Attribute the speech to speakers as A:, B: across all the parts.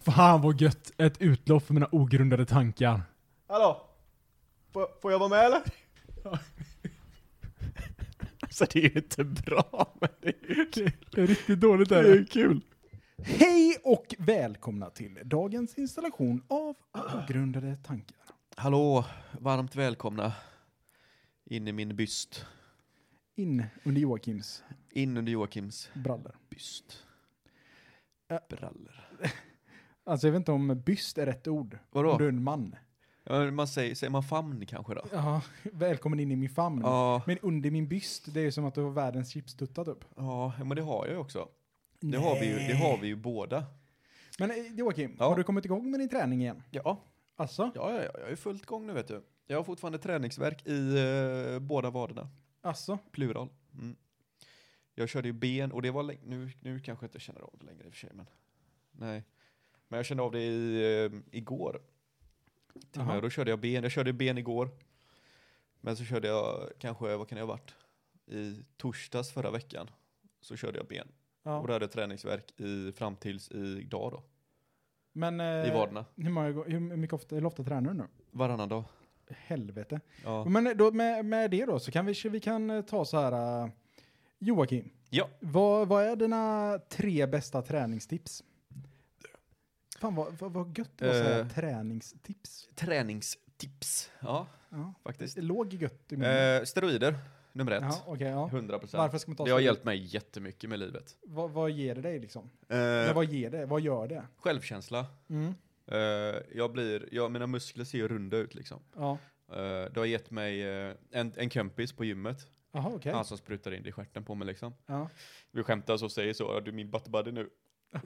A: Fan vad gött! Ett utlopp för mina ogrundade tankar.
B: Hallå? Får, får jag vara med eller?
C: Alltså det är ju inte bra, men det är ju kul.
A: Det är riktigt dåligt
C: Det är ju kul.
D: Hej och välkomna till dagens installation av Ogrundade tankar.
C: Hallå, varmt välkomna in i min byst.
D: In under Joakims
C: In under Joakims
D: brallor.
C: byst.
D: Ä-
C: Brallor.
D: Alltså jag vet inte om byst är rätt ord. Om du är
C: Vadå?
D: en man.
C: Ja, Man säger, säger man famn kanske då?
D: Ja, välkommen in i min famn.
C: Ja,
D: Men under min byst, det är ju som att du har världens chipstutta typ.
C: ja, men det har jag ju också. Det har, vi ju, det har vi ju båda.
D: Men eh, Joakim,
C: Ja.
D: har du kommit igång med din träning igen?
C: Ja,
D: Alltså?
C: ja, ja, ja, jag är i fullt gång nu vet du. Jag har fortfarande träningsverk i eh, båda vaderna.
D: Alltså?
C: Plural. Mm. Jag körde ju ben och det var länge, nu, nu kanske jag inte känner av det längre i och för sig. Men, nej. men jag kände av det i, eh, igår. Till
D: Jaha.
C: och med. Och Då körde jag ben, jag körde ben igår. Men så körde jag kanske, vad kan det ha varit? I torsdags förra veckan så körde jag ben. Och
D: Ja.
C: då hade jag träningsverk i, fram tills idag då.
D: Men
C: I
D: eh,
C: vaderna.
D: hur, många, gång- hur mycket ofta, hur ofta tränar du nu?
C: Varannan dag.
D: Helvete.
C: Ja.
D: Men då, med, med det då så kan vi, vi kan eh, ta så här. eh, Joakim.
C: Ja.
D: Vad, vad är dina tre bästa träningstips? Fan vad, vad, vad gött det var att säga
C: Eh.
D: träningstips.
C: Träningstips. Ja,
D: Ja.
C: faktiskt.
D: Det låg gött i munnen.
C: Eh, steroider, nummer ett.
D: ja, okej, Mm. ja.
C: 100 procent.
D: Varför ska man ta
C: Det har
D: så-
C: hjälpt mig jättemycket med livet.
D: Vad, vad ger det dig liksom? Eller
C: Eh,
D: vad ger det? Vad gör det?
C: självkänsla.
D: Mm.
C: Eh, jag blir, ja, mina muskler ser ju runda ut liksom.
D: Ja.
C: Eh, det har gett mig eh, en, en kompis på gymmet,
D: Jaha, okej.
C: han som sprutar in det i stjärten på mig liksom.
D: Ja.
C: Vi skämtar så och säger så, "Ja, du är min buttbuddy nu.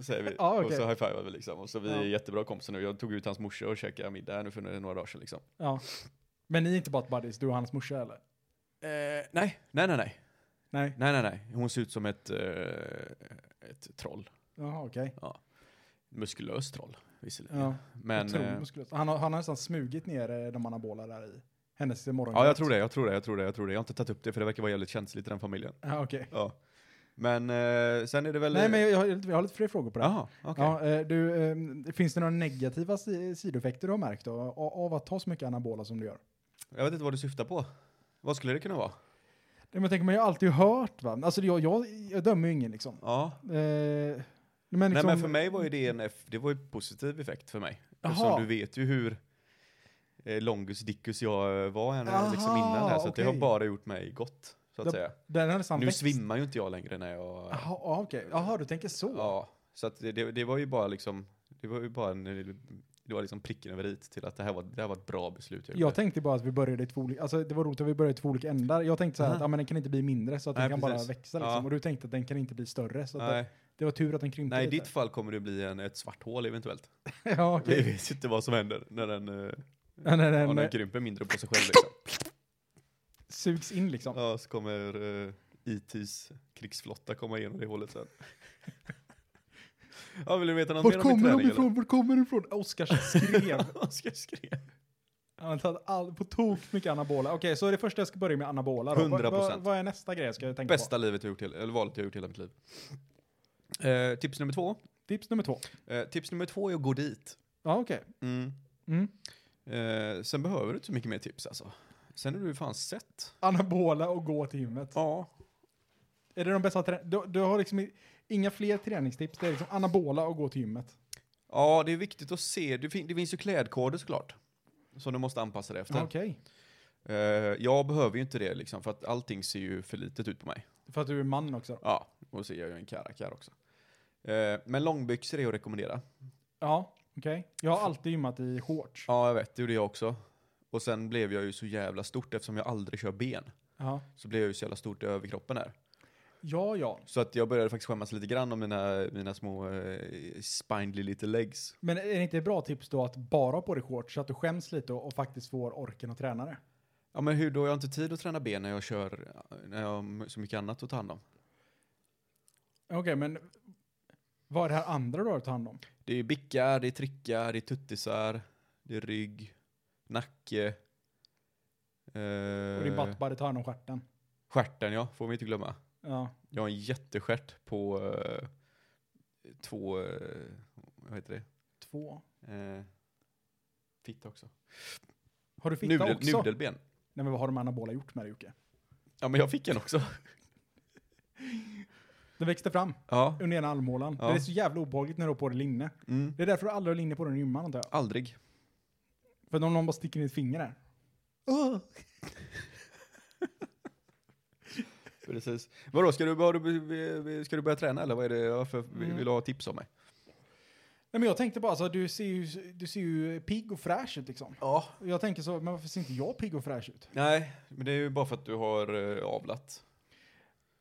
C: Säger vi.
D: Ja,
C: Och
D: okej.
C: så high-fivar vi liksom. Och så vi
D: Ja.
C: är jättebra kompisar nu. Jag tog ut hans morsa och käkade middag här nu för några dagar sedan liksom.
D: ja. Men ni är inte bara buddies, du och hans morsa eller? Eh,
C: nej, nej, nej, nej,
D: Nej.
C: nej, nej, nej. Hon ser ut som ett, eh, ett troll.
D: Jaha, okej.
C: Muskulöst troll, visserligen.
D: Ja.
C: Men,
D: Otroligt
C: eh,
D: muskulös. Han, har, han har nästan smugit ner eh, de anabola där i hennes morgongröt.
C: ja, jag tror det, jag tror det, jag tror det, jag tror det. Jag har inte tagit upp det för det verkar vara jävligt känsligt i den familjen.
D: Ja, Ah, okej.
C: Ja. Men eh, sen är det väl...
D: Nej, men jag, har- jag har lite fler frågor på det. här.
C: Jaha, okej.
D: Ja, eh, du, eh, finns det några negativa si- sidoeffekter du har märkt då, av- av att ta så mycket anabola som du gör?
C: Jag vet inte vad du syftar på. Vad skulle det kunna vara?
D: Det man tänker, man har ju alltid hört va? Alltså jag, jag, jag dömer ju ingen liksom.
C: Ja.
D: Eh, men liksom
C: Nej men för mig var ju det en F, det var ju positiv effekt för mig.
D: Jaha.
C: Eftersom du vet ju hur eh, longus dickus jag eh, var här nu, liksom innan det här, så att det har
D: okej.
C: bara gjort mig gott. Så att
D: Det-
C: säga.
D: Den har nästan
C: Nu
D: växt.
C: svimmar ju inte jag längre när jag...
D: Jaha, ja, okej. Jaha, du tänker så?
C: Ja. Så att det, det, det var ju bara liksom, det var ju bara en... Det var liksom pricken över it till att det här var, det här var ett bra beslut. jag gjorde.
D: Jag tänkte bara att vi började i två olika, alltså det var roligt att vi började i två olika ändar. Jag tänkte så här
C: Aha.
D: att ja, men den kan inte bli mindre så att den
C: Nej,
D: kan
C: precis.
D: bara växa liksom.
C: Ja.
D: Och du tänkte att den kan inte bli större så att det,
C: Nej,
D: det var tur att den krympte
C: Nej i
D: lite.
C: ditt fall kommer det bli en, ett svart hål eventuellt.
D: ja,
C: Vi
D: okej.
C: vet inte vad som händer när den, eh,
D: Ja, när den
C: ja, när
D: eh,
C: den krymper mindre på sig själv. Liksom.
D: sugs in liksom.
C: Ja, så kommer uh, ITs krigsflotta komma igenom det hålet sen. ja, vill du veta något
D: Vart
C: mer om min
D: kommer de
C: träning?
D: ifrån? Vart kommer de ifrån? Oskars skrev.
C: eller? Oskar skrev.
D: Han har tagit all, på tok mycket anabola. Okej, så det första jag ska börja med anabola då.
C: 100%.
D: Vad, vad, vad är nästa grej jag ska tänka på?
C: Bästa livet jag gjort, hela- eller valet jag gjort hela mitt liv. Eh, tips nummer två.
D: Tips nummer två.
C: Eh, tips nummer två är att gå dit.
D: Ja, okej.
C: Mm.
D: Mm.
C: Eh, sen behöver du inte så mycket mer tips alltså. Sen är du ju fan sett.
D: Anabola och gå till gymmet.
C: Ja.
D: Är det de bästa trä- du, du har liksom i- inga fler träningstips. Det är liksom anabola och gå till gymmet.
C: Ja, det är viktigt att se. Det, fin- det finns ju klädkoder såklart. Som du måste anpassa dig efter.
D: Ja, Okej.
C: Eh, jag behöver ju inte det liksom, för att allting ser ju för litet ut på mig.
D: För att du är man också.
C: Ja, och så är jag ju en karakär också. Eh, men långbyxor är att rekommendera.
D: Ja, okej. Jag har alltid gymmat i shorts.
C: Ja, jag vet, det gjorde jag också. Och sen blev jag ju så jävla stort eftersom jag aldrig kör ben.
D: Ja.
C: Så blev jag ju så jävla stort i överkroppen här.
D: Ja, ja.
C: Så att jag började faktiskt skämmas lite grann om mina, mina små eh, spindly little legs.
D: Men är det inte ett bra tips då att bara ha på dig shorts så att du skäms lite och, och faktiskt får orken att träna det?
C: Ja men hur då, jag har inte tid att träna ben när jag kör, när jag har så mycket annat att ta hand om.
D: Okej, men vad är det här andra du har att ta hand om?
C: Det är bickar, det är trickar, det är tuttisar, det är rygg, nacke. Eh,
D: Och din buttbuddy tar hand om stjärten.
C: Stjärten ja, får vi inte glömma.
D: Ja.
C: Jag har en jättestjärt på eh, två, eh, vad heter det?
D: två.
C: Eh, fitta också.
D: Har du fitta
C: Nudel,
D: också?
C: Nudelben.
D: Nej men vad har de anabola gjort med det Jocke?
C: Ja men jag fick en också.
D: Den växte fram
C: Ja.
D: under ena armhålan.
C: Ja.
D: Det är så jävla obehagligt när du har på dig linne.
C: Mm.
D: Det är därför du aldrig har linne på dig när du gymmar antar jag.
C: Aldrig.
D: För att om någon bara sticker in ett finger där.
C: Precis. Vadå, ska du, har du, ska du börja träna eller vad är det? Varför
D: Mm.
C: vill du ha tips om mig?
D: Nej men jag tänkte bara så här, du ser ju, du ser ju pigg och fräsch ut liksom.
C: Ja.
D: Och Jag tänker så, men varför ser inte jag pigg och fräsch ut?
C: Nej, men det är ju bara för att du har eh, avlat.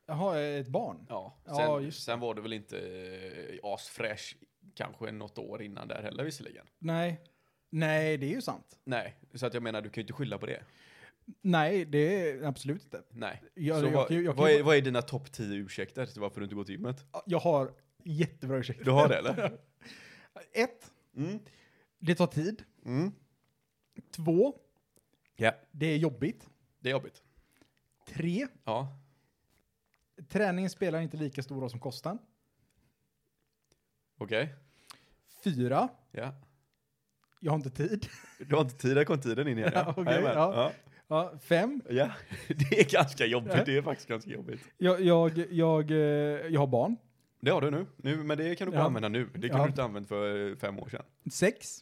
D: Jag har ett barn.
C: Ja. Sen,
D: Ja, just det.
C: sen var du väl inte eh, asfräsch kanske något år innan där heller visserligen.
D: Nej. Nej, det är ju sant.
C: Nej, så att jag menar du kan ju inte skylla på det.
D: Nej, det är absolut inte.
C: Nej.
D: Jag,
C: så
D: jag,
C: vad,
D: jag, jag,
C: vad, är,
D: jag,
C: vad är dina topp 10 ursäkter till varför du inte går till gymmet?
D: jag har jättebra ursäkter.
C: Du har det eller?
D: Ett,
C: Mm.
D: det tar tid.
C: Mm.
D: Två,
C: Ja,
D: det är jobbigt.
C: det är jobbigt.
D: Tre,
C: Ja.
D: träningen spelar inte lika stor roll som kostan.
C: Okej.
D: Fyra,
C: Ja.
D: jag har inte tid.
C: Du har inte tid, där kom tiden in igen.
D: Ja, okej,
C: Jajamän.
D: ja. Ja, fem,
C: Ja. ja, det är ganska jobbigt.
D: Ja.
C: Det är faktiskt ganska jobbigt.
D: jag, jag, jag, eh, jag har barn.
C: Det har du nu. nu men det kan du bara
D: Ja.
C: använda nu. Det kunde
D: Ja.
C: du inte använt för eh, fem år sedan.
D: Sex,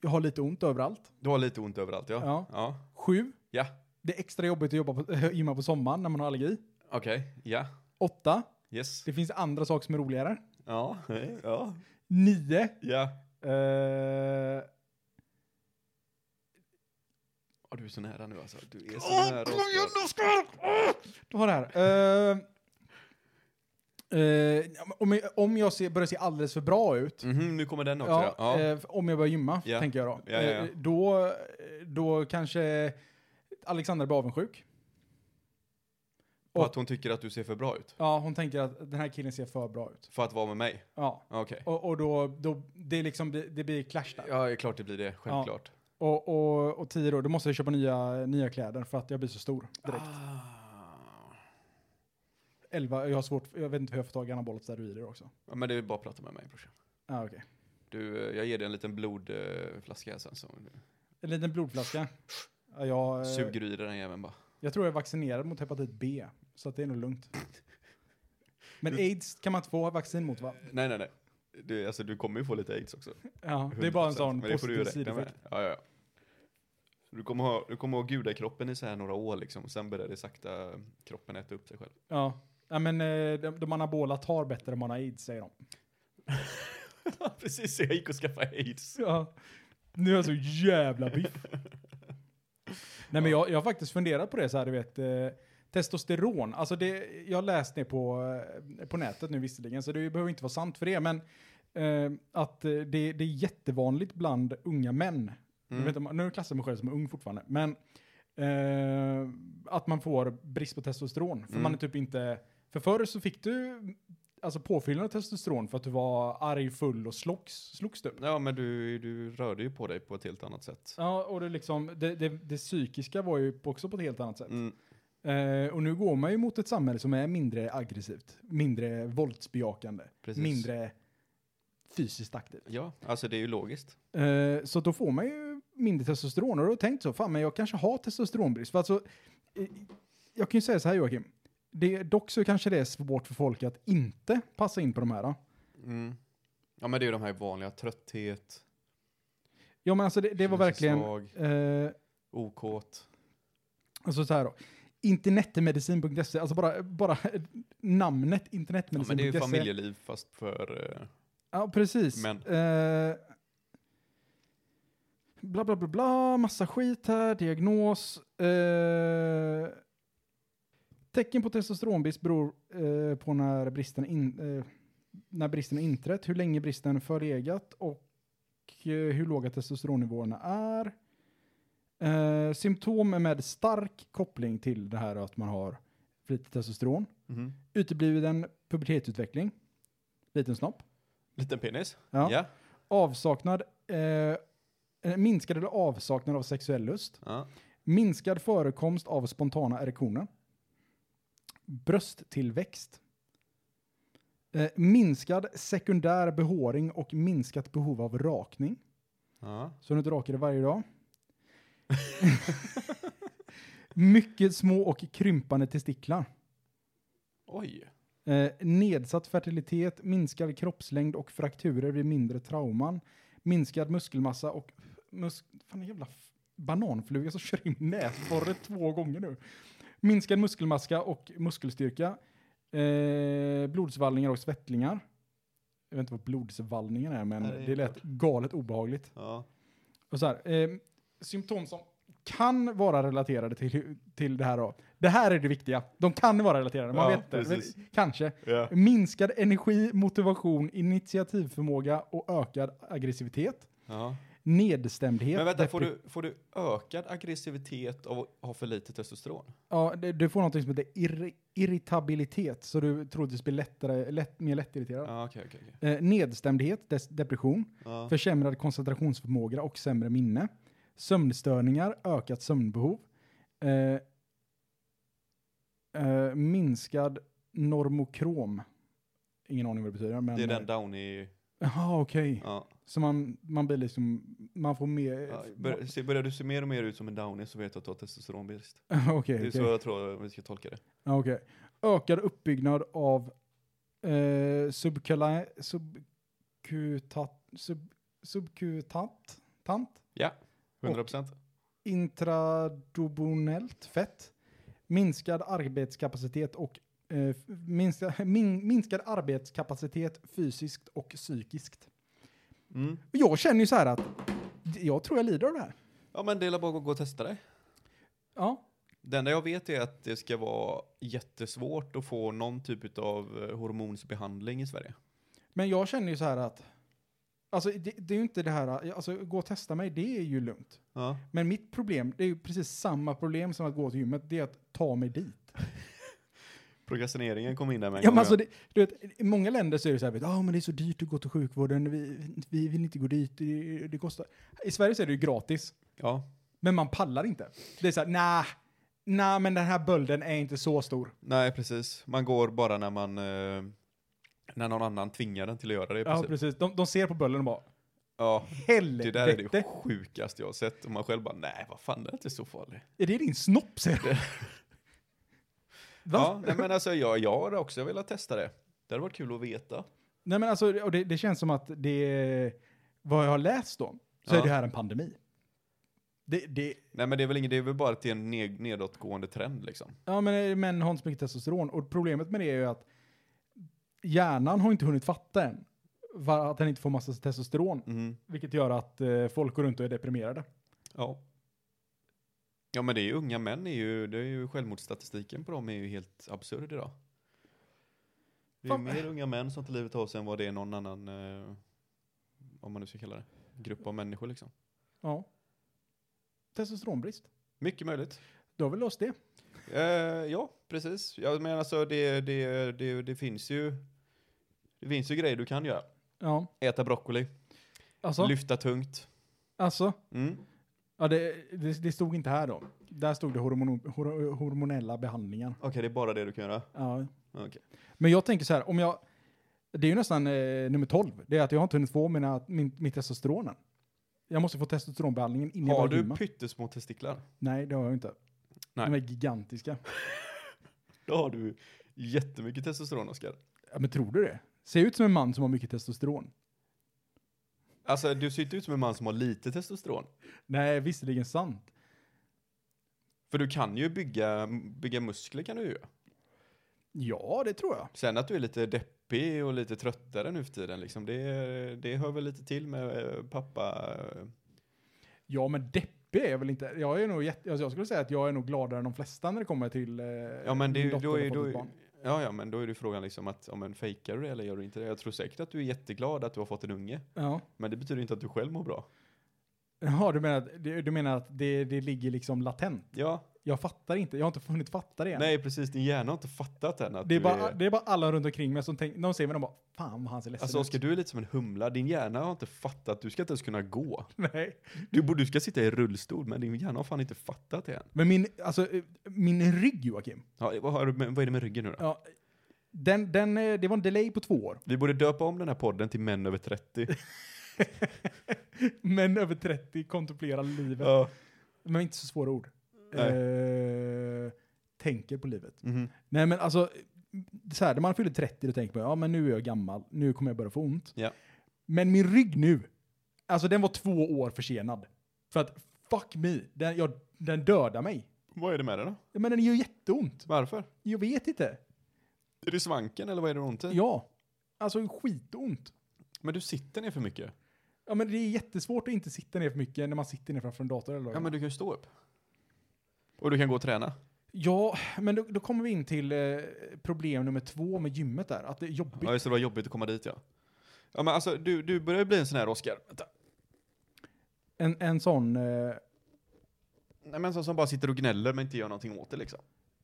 D: jag har lite ont överallt.
C: Du har lite ont överallt, ja.
D: Ja.
C: ja.
D: Sju,
C: Ja.
D: det är extra jobbigt att jobba på, gymma på sommaren när man har allergi.
C: Okej, ja.
D: Åtta,
C: Yes.
D: det finns andra saker som är roligare.
C: Ja. Ja.
D: Nio,
C: ja.
D: eh,
C: Ja, du är så nära nu alltså. Du är så nära. alltså. Oskar.
D: Då var det här. Eh, eh, ja, men om jag, om jag ser, börjar se alldeles för bra ut,
C: Mhm, nu kommer den också, ja.
D: ja,
C: ja.
D: eh, om jag börjar gymma,
C: Ja.
D: tänker jag då.
C: Ja, ja, ja.
D: Eh, då, då kanske Alexander blir avundsjuk.
C: På att hon tycker att du ser för bra ut.
D: Ja, hon tänker att den här killen ser för bra ut.
C: För att vara med mig.
D: Ja.
C: Okej.
D: Och, och då, då det, liksom, blir- det blir clash där.
C: Ja, det är klart det blir det. Självklart.
D: Och, och, och tio då, då måste jag köpa nya, nya kläder för att jag blir så stor direkt.
C: Ah.
D: Elva, jag har svårt, jag vet inte hur jag får tag i anabola steroider också.
C: Ja, men det är bara att prata med mig, brorsan.
D: Ah, okej.
C: Du, eh, jag ger dig en liten blodflaska här sen. Så
D: En liten blodflaska. Ja, jag, eh,
C: suger du i dig den jäveln bara.
D: Jag tror jag är vaccinerad mot hepatit B, så att det är nog lugnt. Men aids kan man inte få vaccin mot va?
C: Nej, nej, nej. Du, alltså, du kommer ju få lite aids också.
D: Ja, det är bara en
C: 100%,
D: sån
C: men det får du ju
D: positiv
C: räkna med.
D: sideffekt.
C: Ja, ja, ja. Du kommer ha, du kommer ha gudakroppen i så här några år liksom. Och sen börjar det sakta kroppen äta upp sig själv.
D: Ja. ja, men eh, de, de anabola tar bättre än man har aids, säger de.
C: Precis, jag gick och skaffade aids.
D: Ja. Nu är jag så jävla biff. Nej, men jag, jag har faktiskt funderat på det så här, du vet. Eh, testosteron, alltså det, jag har läst det på, eh, på nätet nu visserligen, så det behöver inte vara sant för det, men eh, att eh, det, det är jättevanligt bland unga män.
C: Mm.
D: Jag vet inte, om- nu klassar jag mig själv som ung fortfarande, men eh, att man får brist på testosteron. För
C: Mm.
D: man är typ inte, för förr så fick du alltså påfyllnad av testosteron för att du var arg, full och slogs, slogs typ.
C: Ja, men du, du rörde ju på dig på ett helt annat sätt.
D: Ja, och det, liksom, det, det, det psykiska var ju också på ett helt annat sätt.
C: Mm.
D: Eh, och nu går man ju mot ett samhälle som är mindre aggressivt, mindre våldsbejakande,
C: Precis.
D: mindre fysiskt aktivt.
C: Ja, alltså det är ju logiskt.
D: Eh, så då får man ju mindre testosteron. Och då har jag tänkt så, fan men jag kanske har testosteronbrist. För alltså, eh, jag kan ju säga så här Joakim, det, dock så kanske det är svårt för folk att inte passa in på de här.
C: Mm. Ja, men det är ju de här vanliga. Trötthet,
D: Ja men alltså det, det var
C: känner sig
D: verkligen,
C: svag,
D: eh,
C: okåt.
D: Alltså så här då. Internetmedicin.se, alltså bara, bara namnet
C: Ja, men det är ju
D: internetmedicin.se. Ja,
C: familjeliv fast för... eh,
D: precis.
C: Men.
D: Eh, bla, bla, bla, bla, massa skit här, diagnos. Eh, tecken på testosteronbrist beror eh, på när bristen, in, eh, när bristen har inträtt, hur länge bristen förlegat och eh, hur låga testosteronnivåerna är. Eh, symptom med stark koppling till det här att man har för lite testosteron.
C: mhm.
D: Utebliven pubertetsutveckling. Liten snopp.
C: Liten penis.
D: Ja.
C: Ja.
D: Avsaknad. Eh, eh, minskad eller avsaknad av sexuell lust.
C: ja.
D: Minskad förekomst av spontana erektioner. Brösttillväxt. Eh, minskad sekundär behåring och minskat behov av rakning.
C: Ja.
D: Så nu rakar det varje dag. Mycket små och krympande testiklar.
C: Oj.
D: Eh, nedsatt fertilitet, minskad kroppslängd och frakturer vid mindre trauman. Minskad muskelmassa och... Mus fan, en jävla f- bananfluga som kör in näsborre två gånger nu. Minskad muskelmassa och muskelstyrka. Eh, blodsvallningar och svettlingar. Jag vet inte vad blodsvallningar är, men
C: Nej, det är
D: det lät galet obehagligt.
C: Ja.
D: Och så här, eh, symptom som kan vara relaterade till, hu- till det här då. Det här är det viktiga. De kan vara relaterade, man
C: Ja,
D: vet inte.
C: precis.
D: Men Kanske.
C: Ja.
D: Minskad energi, motivation, initiativförmåga och ökad aggressivitet.
C: ja.
D: Nedstämdhet.
C: Men vänta,
D: depre-
C: får du, får du ökad aggressivitet av att ha för lite testosteron?
D: Ja, det- du får något som heter irri- irritabilitet, så du troligtvis blir lättare, lätt, mer lättirriterad.
C: Ja, okej, okej. okej.
D: Eh, nedstämdhet, des- depression.
C: Ja.
D: Försämrad koncentrationsförmåga och sämre minne. Sömnstörningar, ökat sömnbehov. Eh, eh, minskad normokrom. Ingen aning vad det betyder. Men
C: Det är den Downy...
D: Jaha, okej.
C: Ja.
D: Så man, man blir liksom, man får mer...
C: Ja,
D: Ja,
C: bör- se- Börjar du se mer och mer ut som en Downy så vet du att du har testosteronbrist.
D: okej,
C: Det är så
D: okej.
C: jag tror vi ska tolka det.
D: Ja, okej. Ökad uppbyggnad av eh, subkula, subkutat, sub, subkutant, tant?
C: 100 procent.
D: intradobonellt fett, minskad arbetskapacitet och eh, minska, min, minskad arbetskapacitet fysiskt och psykiskt.
C: Mm.
D: Jag känner ju så här att jag tror jag lider av det här.
C: Ja men det är bara att gå och testa det.
D: Ja,
C: Det enda jag vet är att det ska vara jättesvårt att få någon typ av hormonsbehandling i Sverige.
D: men jag känner ju så här att alltså det, det är ju inte det här, alltså gå och testa mig, det är ju lugnt.
C: Ja.
D: Men mitt problem, det är ju precis samma problem som att gå till gymmet, det är att ta mig dit.
C: Prokrastineringen kom in där med en
D: Ja,
C: gång,
D: men alltså, det, du vet, I många länder så är det så här, vet, ah, men det är så dyrt att gå till sjukvården, vi, vi vill inte gå dit, det, det kostar. I Sverige så är det ju gratis,
C: ja.
D: men man pallar inte. Det är så här, nej, nej, men den här bölden är inte så stor.
C: Nej precis, man går bara när man eh, när någon annan tvingar den till att göra det. i
D: Ja,
C: princip.
D: precis. De, de ser på bölden och bara,
C: ja
D: helvete.
C: det där är det sjukaste jag har sett. Och man själv bara, nej vad fan, det är inte så farligt.
D: Är det din snopp, säger de? Va?
C: Ja, nej, men alltså jag, jag har också velat testa det. Det hade varit kul att veta.
D: Nej, men alltså, och det, det känns som att det, vad jag har läst om, så
C: Ja.
D: är det här en pandemi. Det, det,
C: Nej men det är väl inget, det är väl bara till en ned, nedåtgående trend liksom.
D: Ja, men män har inte så mycket testosteron. Och problemet med det är ju att hjärnan har inte hunnit fatta än. va- Att den inte får massa testosteron.
C: Mm.
D: Vilket gör att eh, folk går runt och är deprimerade.
C: Ja. Ja men det är ju unga män, är ju, det är ju självmordsstatistiken på dem är ju helt absurd idag. Det är ju
D: Fan.
C: mer unga män som tar livet av sig än vad det är någon annan, eh, om man nu ska kalla det, grupp av människor liksom.
D: Ja. Testosteronbrist.
C: Mycket möjligt.
D: Då har vi löst det.
C: Eh, ja, precis. Jag menar alltså det, det, det, det finns ju, det finns ju grejer du kan göra.
D: Ja.
C: Äta broccoli,
D: Alltså.
C: lyfta tungt.
D: alltså.
C: Mm.
D: Ja, det, det, det stod inte här då. Där stod det hormon, hor, hormonella behandlingar.
C: Okej, det är bara det du kan göra.
D: Ja.
C: Okej.
D: Men jag tänker så här. Om jag... Det är ju nästan eh, nummer 12. Det är att jag har inte hunnit få mina, min, mitt testosteron än. Jag måste få testosteronbehandlingen innan jag
C: Har
D: börjar
C: du
D: gymma.
C: pyttesmå testiklar?
D: Nej, det har jag inte.
C: Nej.
D: De är gigantiska.
C: Då har du jättemycket testosteron, Oskar.
D: Ja, men tror du det? Ser ut som en man som har mycket testosteron.
C: Alltså du ser inte ut som en man som har lite testosteron.
D: Nej, visserligen sant.
C: För du kan ju bygga, bygga muskler kan du ju göra.
D: Ja, det tror jag.
C: Sen att du är lite deppig och lite tröttare nu för tiden liksom, det, det hör väl lite till med eh, pappa. eh,
D: Ja, men deppig är jag väl inte. Jag är nog jätte... Alltså, jag skulle säga att jag är nog gladare än de flesta när det kommer till eh,
C: Ja men det, är
D: min
C: ju-
D: dotter
C: då
D: har
C: är,
D: fått
C: då
D: ett
C: är,
D: barn.
C: ja, ja men då är det frågan liksom att, ja men fejkar du det eller gör du inte det? Jag tror säkert att du är jätteglad att du har fått en unge.
D: Ja.
C: Men det betyder inte att du själv mår bra.
D: Jaha, du menar att, det- du menar att det, det ligger liksom latent?
C: Ja,
D: Jag fattar inte. Jag har inte hunnit fatta det än.
C: nej precis, din hjärna har inte fattat än att
D: det, är
C: du
D: bara,
C: är...
D: det är bara alla runt omkring mig som tänker... De ser mig och de bara, fan vad han ser ledsen
C: Alltså Oskar,
D: ut.
C: du är lite som en humla. Din hjärna har inte fattat, du ska inte ens kunna gå.
D: Nej.
C: Du, borde- du ska sitta i rullstol, men din hjärna har fan inte fattat det än.
D: Men min, alltså, eh, min rygg Joakim.
C: Ja, vad, har du med, vad är det med ryggen nu då?
D: Ja, Den, den, eh, det var en delay på två år.
C: Vi borde döpa om den här podden till Män över 30.
D: Men över 30 kontemplerar livet.
C: Ja.
D: Men inte så svåra ord.
C: Nej.
D: Eh, tänker på livet.
C: Mhm.
D: Nej men alltså, så här, när man fyller 30 då tänker man ja men nu är jag gammal, nu kommer jag börja få ont.
C: Ja.
D: Men min rygg nu, alltså den var två år försenad. För att fuck me, den, jag, den dödar mig.
C: Vad är det med det då?
D: Men den gör jätteont.
C: Varför?
D: Jag vet inte.
C: Är det svanken eller vad är det ont i?
D: Ja, alltså skitont.
C: Men du sitter ner för mycket.
D: Ja men det är jättesvårt att inte sitta ner för mycket när man sitter ner framför en dator eller
C: Ja, men du kan ju stå upp. Och du kan gå och träna.
D: ja, men då, då kommer vi in till eh, problem nummer två med gymmet där. Att det är jobbigt.
C: Ja, just det, det var jobbigt att komma dit ja. Ja, men alltså du, du börjar ju bli en sån här Oskar. Vänta.
D: En, en sån... Eh,
C: Nej, men sån som bara sitter och gnäller men inte gör någonting åt det liksom.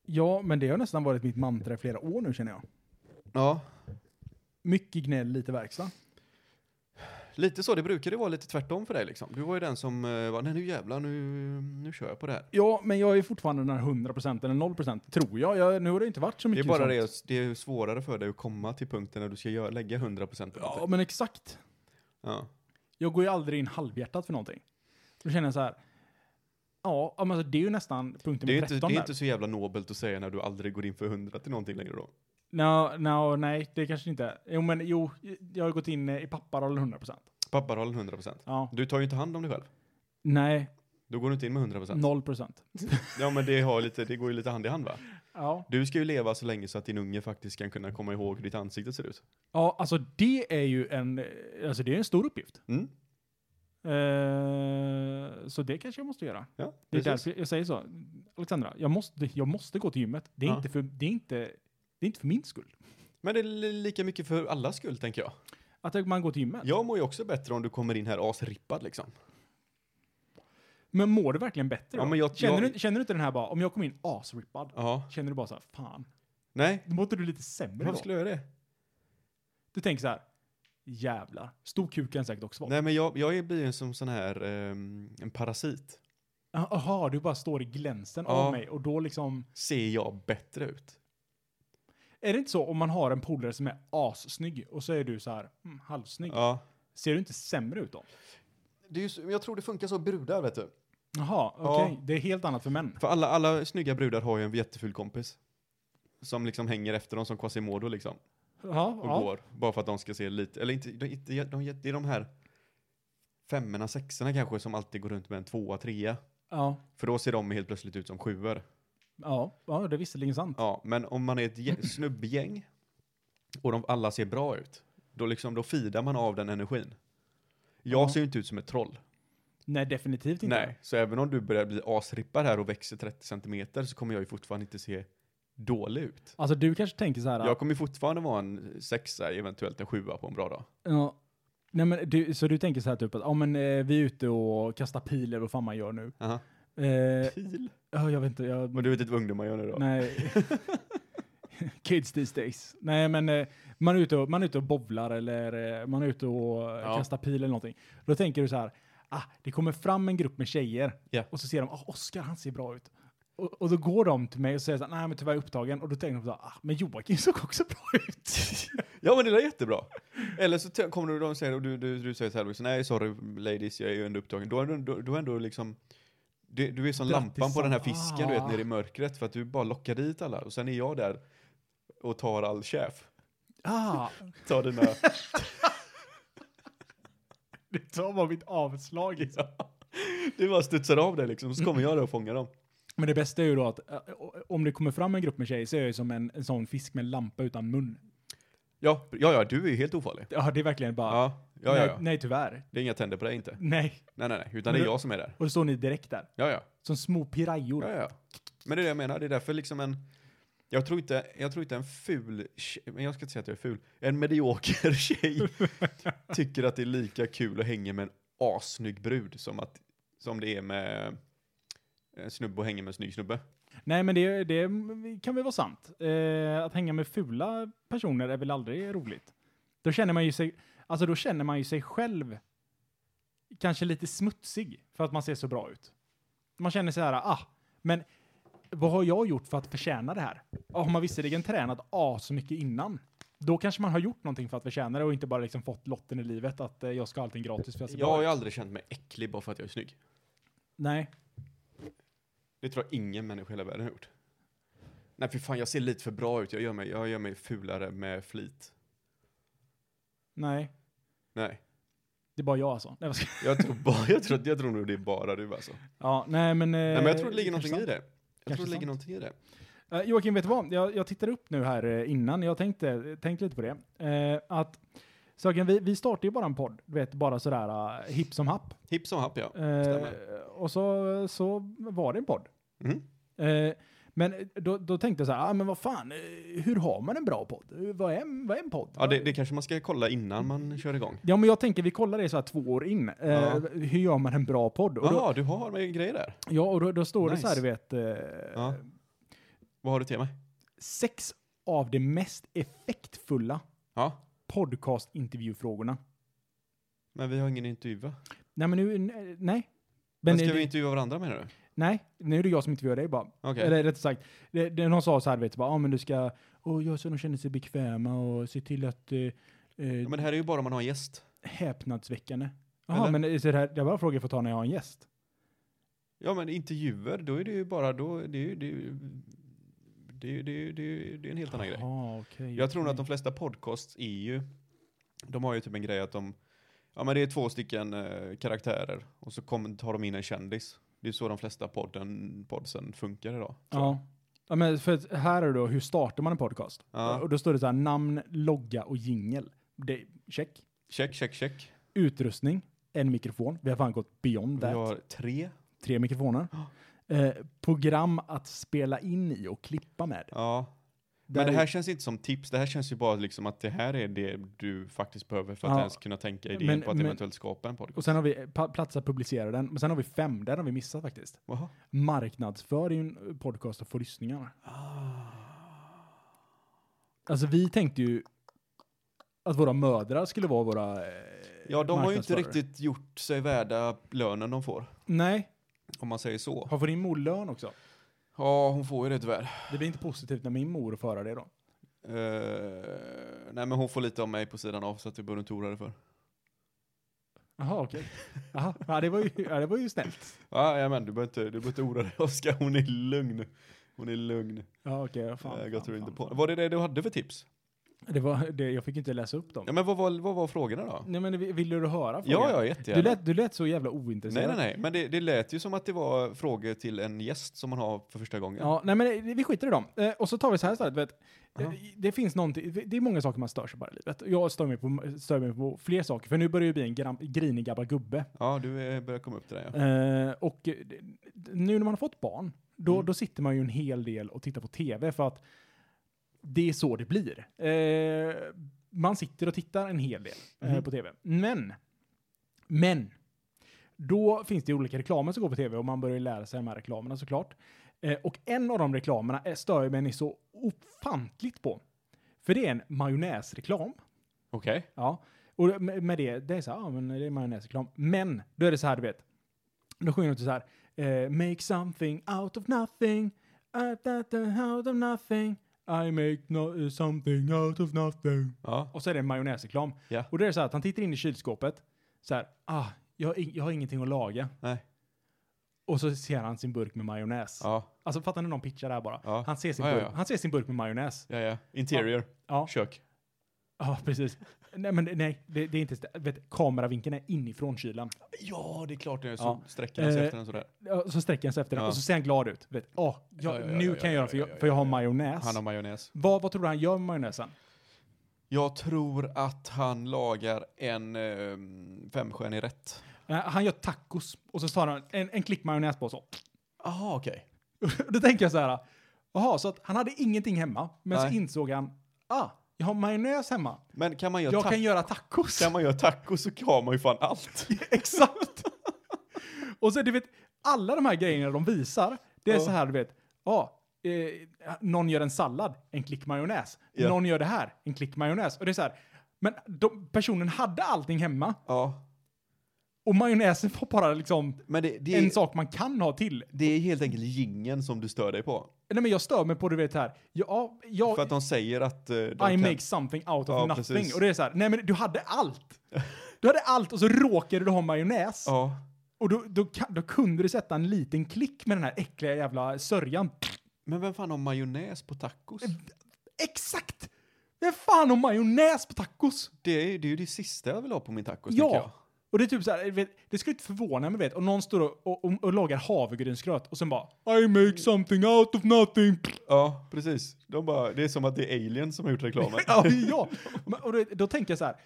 D: Ja, men det har nästan varit mitt mantra i flera år nu känner jag.
C: Ja,
D: Mycket gnäll, lite verkstad.
C: lite så. Det brukade vara lite tvärtom för dig liksom. Du var ju den som eh, var, nej nu jävlar, nu, nu kör jag på det här.
D: Ja, men jag är fortfarande den här 100% eller 0% tror jag. jag. Nu har det inte varit så
C: Det är
D: mycket
C: bara
D: sånt.
C: det, det är svårare för dig att komma till punkten när du ska göra, lägga 100% på någonting.
D: Ja, men exakt.
C: Ja.
D: Jag går ju aldrig in halvhjärtat för någonting. Då känner jag så här. Ja, ja, men alltså, det är ju nästan punkt
C: Det är, ju
D: nummer
C: inte,
D: 13
C: det är
D: där.
C: inte så jävla nobelt att säga när du aldrig går in för 100 till någonting längre då.
D: Nå, nå, nej, det kanske inte är. Jo, men jo, jag har gått in eh, i papparollen 100%.
C: Papparollen 100%.
D: Ja,
C: Du tar ju inte hand om dig själv.
D: nej,
C: Då går du inte in med 100%.
D: 0%.
C: Ja men det, har lite, det går ju lite hand i hand va?
D: Ja.
C: Du ska ju leva så länge så att din unge faktiskt kan kunna komma ihåg hur ditt ansikte ser ut.
D: ja, alltså det är ju en, eh, alltså det är en stor uppgift.
C: Mm.
D: Eh, så det kanske jag måste göra.
C: Ja,
D: Det är
C: precis.
D: därför jag säger så. Alexandra, jag måste, jag måste gå till gymmet. Det är,
C: Ja.
D: inte för, det, är inte, det är inte för min skull.
C: Men det är li- lika mycket för allas skull tänker jag.
D: Att man går till gymmet.
C: Jag mår ju också bättre om du kommer in här asrippad liksom.
D: Men mår du verkligen bättre
C: Ja,
D: då?
C: men jag-
D: känner,
C: jag-
D: Du, känner du inte den här bara, om jag kom in asrippad,
C: Ja.
D: känner du bara så här, fan,
C: Nej.
D: då mådde du lite sämre
C: Varför
D: då?
C: skulle jag göra det?
D: Du tänker så här, jävlar, stor kuk kan säkert också vara.
C: Nej men jag, jag är- blir ju som sån här, ehm, en parasit.
D: Ah, Aha, du bara står i glänsen
C: Ja.
D: av mig och då liksom,
C: Ser jag bättre ut?
D: är det inte så om man har en polare som är assnygg och så är du så här, mm, halvsnygg,
C: Ja.
D: ser du inte sämre ut då?
C: Det är ju, så- jag tror det funkar så brudar vet du.
D: Jaha,
C: Ja.
D: okej. Det är helt annat för män.
C: För alla, alla snygga brudar har ju en jätteful kompis. Som liksom hänger efter dem som Quasimodo liksom.
D: Ja,
C: Och
D: ja.
C: går. Bara för att de ska se lite, eller inte, de, inte de, de, det är de här femmorna, sexorna kanske som alltid går runt med en tvåa, trea.
D: Ja,
C: För då ser de helt plötsligt ut som sjuor.
D: ja, ja, det är visserligen sant.
C: Ja, men om man är ett gäng- snubbgäng och de alla ser bra ut, då liksom, då fidar man av den energin. Jag
D: Ja.
C: ser ju inte ut som ett troll.
D: Nej, definitivt inte.
C: Nej, så även om du börjar bli asrippad här och växer 30 centimeter så kommer jag ju fortfarande inte se dålig ut.
D: Alltså du kanske tänker så här.
C: Jag kommer ju fortfarande vara en sexa, eventuellt en sjua på en bra dag.
D: ja, nej, men du, så du tänker så här typ att ja, men, eh, vi är ute och kastar pil eller vad fan man gör nu.
C: Aha.
D: Eh,
C: Pil?
D: ja, jag vet inte. Jag,
C: Men du vet inte vad ungdomar gör nu då?
D: nej. Kids these days. Nej, men eh, man, är ute och, man är ute och bovlar eller eh, man är ute och
C: Ja.
D: ja. kastar pil eller någonting. Då tänker du så här. Ah, det kommer fram en grupp med tjejer
C: Ja.
D: och så ser de, ah, Oskar han ser bra ut. Och, och då går de till mig och säger så här, nej men tyvärr jag är upptagen. Och då tänker de så här, ah, men Joakim såg också bra ut.
C: Ja men det är jättebra. Eller så t- kommer du och de säger, och du, du, du säger så här, liksom, nej sorry ladies, jag är ju ändå upptagen. Då är du då, då är ändå liksom, du, du är som
D: Grattis,
C: lampan på den här
D: ah.
C: fisken du vet nere i mörkret för att du bara lockar dit alla. Och sen är jag där och tar all chef.
D: ah,
C: Tar dina,
D: det tar bara mitt avslag. Liksom.
C: du bara studsar av dig liksom, så kommer jag där och fångar dem.
D: Men det bästa är ju då att eh, om det kommer fram en grupp med tjejer så är jag ju som en, en sån fisk med en lampa utan mun.
C: Ja, ja, ja du är ju helt ofarlig.
D: Ja, det är verkligen bara,
C: Ja, ja, ja.
D: nej,
C: ja.
D: nej tyvärr.
C: Det är inga tänder på dig inte.
D: Nej.
C: Nej, nej, nej, utan det är
D: Men du-
C: jag som är där.
D: Och då står ni direkt där.
C: Ja, ja.
D: Som små pirajor.
C: Ja, ja. Men det är det jag menar, det är därför liksom en... Jag tror inte, jag tror inte en ful tje- men jag ska inte säga att jag är ful, en medioker tjej tycker att det är lika kul att hänga med en assnygg brud som, att, som det är med en snubbe och hänga med en snygg snubbe.
D: Nej, men det, det kan väl vara sant. Eh, att hänga med fula personer är väl aldrig roligt. Då känner man ju sig, alltså då känner man ju sig själv kanske lite smutsig för att man ser så bra ut. Man känner sig här, ah, men vad har jag gjort för att förtjäna det här? Ja, Har man visserligen tränat asmycket innan, då kanske man har gjort någonting för att förtjäna det och inte bara liksom fått lotten i livet att eh, jag ska ha allting gratis för jag ser
C: Jag
D: bra
C: har ju
D: ut.
C: aldrig känt mig äcklig bara för att jag är snygg.
D: Nej,
C: Det tror jag ingen människa i hela världen har gjort. Nej för fan, jag ser lite för bra ut. Jag gör mig, jag gör mig fulare med flit.
D: nej.
C: Nej,
D: Det är bara jag alltså. Nej, vad ska...
C: jag tror, bara, jag tror, jag tror nog det är bara du alltså.
D: Ja, nej men... eh,
C: Nej men jag tror det ligger någonting i
D: intressant.
C: det. Jag
D: Kanske
C: tror det ligger
D: sant.
C: någonting i det.
D: Eh, Joakim, vet du vad? Jag, jag tittar upp nu här eh, innan. Jag tänkte, tänkte lite på det. Eh, att, Sögen, vi, vi startade ju bara en podd, du vet, bara sådär eh, hipp som happ.
C: Hipp som happ ja.
D: Eh,
C: Stämmer.
D: och så, så var det en podd.
C: Mm.
D: Eh, men då, då tänkte jag så här, ah, men vad fan, eh, hur har man en bra podd? Eh, Vad är, en- vad är en podd?
C: Ja det, det kanske man ska kolla innan man kör igång.
D: Ja, men jag tänker, vi kollar det så här två år in. Eh,
C: Ja.
D: Hur gör man en bra podd? Och då,
C: Jaha, du har med grejer där.
D: ja, och då, då står det så här,
C: Nice.
D: du vet, eh,
C: Ja. Vad har du till mig?
D: sex av de mest effektfulla
C: Ja,
D: podcastintervjufrågorna.
C: men vi har ingen intervju va?
D: Nej, men nu, nej. nej. Men
C: Men ska
D: är det,
C: vi intervjua varandra menar du?
D: nej, nu är det jag som intervjuar dig bara.
C: Okej.
D: Eller rätt sagt, det, det, någon sa så här, vet du, bara, ah, men du ska, åh, gör så de känner sig bekväma och se till att, eh, eh,
C: Ja, men det här är ju bara om man har en gäst.
D: häpnadsväckande. Jaha,
C: Eller?
D: men är så det här, det här var frågor jag får ta när jag har en gäst.
C: Ja men intervjuer, då är det ju bara, då, det är ju, det är ju, det är ju, det är ju, det är ju det är en helt annan grej.
D: Jaha, okej,
C: Jag tror nog
D: okej.
C: att de flesta podcasts är ju, de har ju typ en grej att de, ja men det är två stycken eh, karaktärer och så kom, tar de in en kändis. Det är så de flesta podden, podsen funkar idag. tror jag.
D: Ja. ja, men för att här är då, hur startar man en podcast?
C: Ja.
D: Och då står det så här, namn, logga och jingel. Det- Check.
C: Check, check, check.
D: Utrustning, en mikrofon. Vi har fan gått beyond
C: Vi
D: that.
C: har tre.
D: tre mikrofoner. Eh, program att spela in i och klippa med.
C: Ja.
D: Där
C: Men det här
D: är-
C: känns inte som tips, det här känns ju bara liksom att det här är det du faktiskt behöver för att
D: Ja.
C: ens kunna tänka idén
D: Men-
C: på att
D: men-
C: eventuellt skapa en podcast.
D: Och sen har vi eh, pa- plats att publicera den. Men sen har vi fem, där har vi missat faktiskt.
C: Jaha.
D: Marknadsför din eh, podcast och få lyssningar.
C: Ah.
D: Alltså vi tänkte ju att våra mödrar skulle vara våra eh,
C: Ja, de har ju inte
D: marknadsförare.
C: riktigt gjort sig värda lönen de får,
D: Nej,
C: om man säger så.
D: har får din mor lön också?
C: Ja, hon får ju det tyvärr.
D: Det blir inte positivt när min mor får höra det då.
C: Eh, nej, men hon får lite av mig på sidan av, så att du behöver inte oroa dig för.
D: Jaha, okej. Jaha, ja, det var ju, ja, det var ju snällt.
C: Ja, ja, men du behöver inte, du behöver inte oroa dig, Oskar. Hon är lugn. Hon är lugn. Eh,
D: Ja, okej. ja, fan,
C: jag
D: fan,
C: tror inte
D: fan,
C: på.
D: fan.
C: Var det det du hade för tips?
D: Det var, det, jag fick ju inte läsa upp dem.
C: Ja, men vad var, vad var frågorna då?
D: Nej men vi- ville du höra frågan?
C: Ja, ja,
D: Du
C: jättegärna.
D: lät, du lät så jävla
C: Nej,
D: ointresserad.
C: nej, nej, men det, det lät ju som att det var frågor till en gäst som man har för första gången.
D: Ja, nej men vi skiter i dem. Eh, och så tar vi så här istället. Vet,
C: Jaha.
D: Eh, Det finns någonting, det är många saker man stör sig på i livet. Jag stör mig på, stör mig på fler saker, för nu börjar jag bli en gram, grinig gammal gubbe.
C: Ja, du eh, börjar komma upp till det. Ja.
D: Eh, och eh, d- nu när man har fått barn, då,
C: Mm.
D: då sitter man ju en hel del och tittar på tv för att det är så det blir. Eh, man sitter och tittar en hel del eh,
C: Mhm.
D: på tv. Men, men, då finns det ju olika reklamer som går på tv och man börjar ju lära sig de här reklamerna såklart. Eh, och en av de reklamerna är, stör jag mig så ofantligt på. För det är en majonnäsreklam.
C: Okej.
D: Ja, och med, med det, det är så här, ja men det är majonnäsreklam. Men, då är det så här du vet. Då sjunger de typ så här. Eh, make something out of nothing. Out of the- out of nothing. I make no, uh, something out of nothing.
C: Ja.
D: Och så är det en majonnäsreklam.
C: Ja.
D: Och då är det så här att han tittar in i kylskåpet. Så här, ah, jag, har ing- jag har ingenting att laga.
C: Nej.
D: Och så ser han sin burk med majonnäs.
C: Ja.
D: Alltså fattar ni någon pitchar där bara?
C: Ja.
D: Han, ser sin
C: Ja, ja,
D: burk,
C: ja.
D: han ser sin burk med majonnäs.
C: Ja, ja. Interior.
D: Ja.
C: Kök.
D: Ja, precis. Nej, men nej, det, det är inte... st- Vet, kameravinkeln är inifrån kylen.
C: Ja, det är klart. Det är så
D: Ja.
C: sträcker han sig
D: Eh,
C: efter den sådär.
D: Ja, Så sträcker han sig efter den
C: Ja.
D: och så ser han glad ut. Vet, åh, jag,
C: Ja, ja, ja,
D: nu
C: ja,
D: kan jag
C: ja,
D: göra för,
C: ja,
D: jag,
C: ja,
D: för jag har
C: ja, ja.
D: majonnäs.
C: Han har majonnäs.
D: Vad, vad tror du han gör med majonnäsen?
C: Jag tror att han lagar en um, femstjärnig rätt.
D: Nej, Eh, han gör tacos och så tar han en, en klick majonnäs på så.
C: Jaha, okej.
D: Då tänker jag så här, jaha, så att han hade ingenting hemma, men så
C: Nej.
D: insåg han, ah, jag har majonnäs hemma.
C: Men kan man göra
D: Jag
C: tacos?
D: kan
C: Kan,
D: göra tacos.
C: man göra tacos så har man ju fan allt.
D: Exakt! och så du vet, alla de här grejerna de visar, det är
C: Ja.
D: så här du vet, ja, eh, någon gör en sallad, en klick majonnäs.
C: Ja.
D: Någon gör det här, en klick majonnäs. Och det är så här, men de, personen hade allting hemma
C: ja.
D: Och majonnäsen var bara liksom
C: Men det, det,
D: en
C: är,
D: sak man kan ha till.
C: det är helt enkelt gingen som du stör dig på.
D: Nej men jag stör mig på du vet här. Ja, jag,
C: För att de säger att eh, de
D: I
C: kan...
D: make something out of
C: Ja,
D: nothing.
C: precis.
D: Och det är så här, nej men du hade allt. Du hade allt och så råkade du ha majonnäs.
C: Ja.
D: Och då, då, kan- då kunde du sätta en liten klick med den här äckliga jävla sörjan.
C: Men vem fan har majonnäs på tacos?
D: Exakt! Vem fan har majonnäs på tacos?
C: Det är, det är ju det sista jag vill ha på min tacos, tycker jag.
D: Ja! Och det är typ så här, vet, det skulle inte förvåna mig vet, om någon står och, och, och, och lagar havregrynsgröt och sen bara I make something out of nothing.
C: Ja, precis. De bara, det är som att det är Alien som har gjort reklamen.
D: ja, ja. Men- Och då, då tänker jag så här.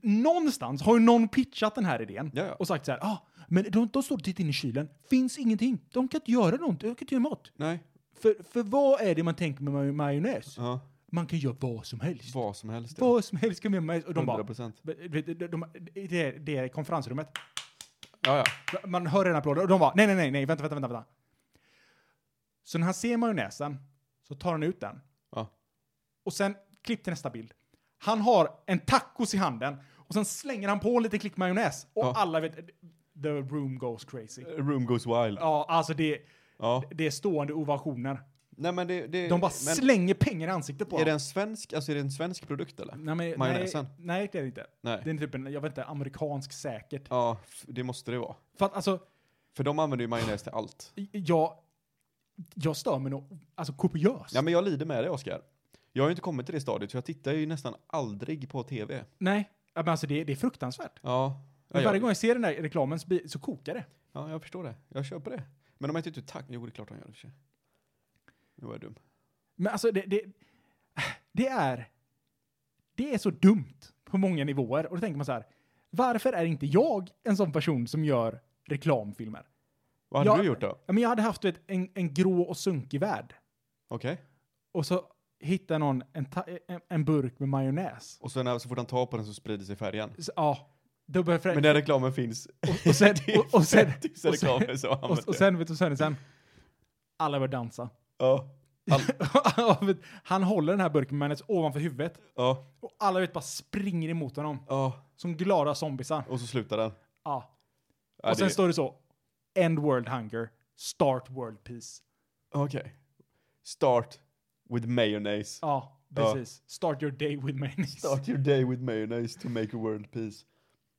D: Någonstans har ju någon pitchat den här idén
C: Ja, ja.
D: och sagt så här, ah, men de, de står och tittar in i kylen, finns ingenting, de kan inte göra något, de kan inte göra mat.
C: Nej.
D: För, för vad är det man tänker med maj- majonnäs?
C: Ja,
D: Man kan göra vad som helst.
C: vad som helst. ja.
D: Vad som helst kan man göra med majonnäs. Och de bara,
C: 100%.
D: de, de, de, det, det är konferensrummet,
C: Ja, ja.
D: man hör en applåd och de bara nej, nej, nej, nej, vänta, vänta, vänta, vänta. Så när han ser majonnäsen så tar han ut den.
C: Ja.
D: Och sen, klipp till nästa bild. Han har en tacos i handen och sen slänger han på lite klick majonnäs och
C: Ja.
D: alla vet, the room goes crazy.
C: Room goes wild. Ja.
D: Ja, alltså det, det är stående ovationer.
C: Nej, men det... det
D: De bara
C: men
D: slänger pengar i ansiktet på
C: Är det
D: honom.
C: en svensk, alltså är det en svensk produkt eller?
D: Nej, men,
C: majonnäsen?
D: Nej, nej, det är det inte.
C: Nej.
D: Det är typ en, jag vet inte, amerikansk säkert.
C: Ja, f- det måste det vara.
D: För att alltså,
C: För de använder ju majonnäs till allt.
D: jag, jag stör mig nog, alltså kopiöst.
C: Ja, men jag lider med dig, Oskar. Jag har ju inte kommit till det stadiet, så jag tittar ju nästan aldrig på tv.
D: Nej, ja, men alltså det, det är fruktansvärt.
C: Ja. Ja,
D: Men
C: jag,
D: varje gång jag ser den där reklamen så, blir, så kokar det.
C: ja, jag förstår det. Jag köper det. Men de äter ju inte tack. Jo, det är klart de gör. i och för sig. Nu var jag dum.
D: Men alltså det, det, det är... Det är så dumt på många nivåer. Och då tänker man så här, varför är inte jag en sån person som gör reklamfilmer?
C: Vad hade
D: Jag-
C: du gjort då?
D: Ja, men jag hade haft du vet, en, en grå och sunkig värld.
C: Okej.
D: Och så hittar någon en, ta, en, en burk med majonnäs.
C: Och sen när, så fort han tar på den så sprider sig färgen.
D: Så, ja, dubbelförändring.
C: Men den reklamen finns.
D: Och, och sen... Och, och sen, och sen,
C: Tusen
D: och sen,
C: reklamer som har
D: och,
C: använt
D: och
C: det.
D: sen, vet du, sen, sen alla börjar dansa.
C: Ja.
D: han håller den här burken med majonnäs ovanför huvudet
C: Ja.
D: och alla vet bara springer emot honom
C: Ja.
D: som glada zombisar.
C: Och så slutar den.
D: Ja.
C: Ja,
D: Och sen
C: det-
D: står det så. End world hunger, start world peace.
C: Okej. Start with mayonnaise.
D: Ja,
C: Ja.
D: precis. Start your day with mayonnaise.
C: Start your day with mayonnaise to make a world peace.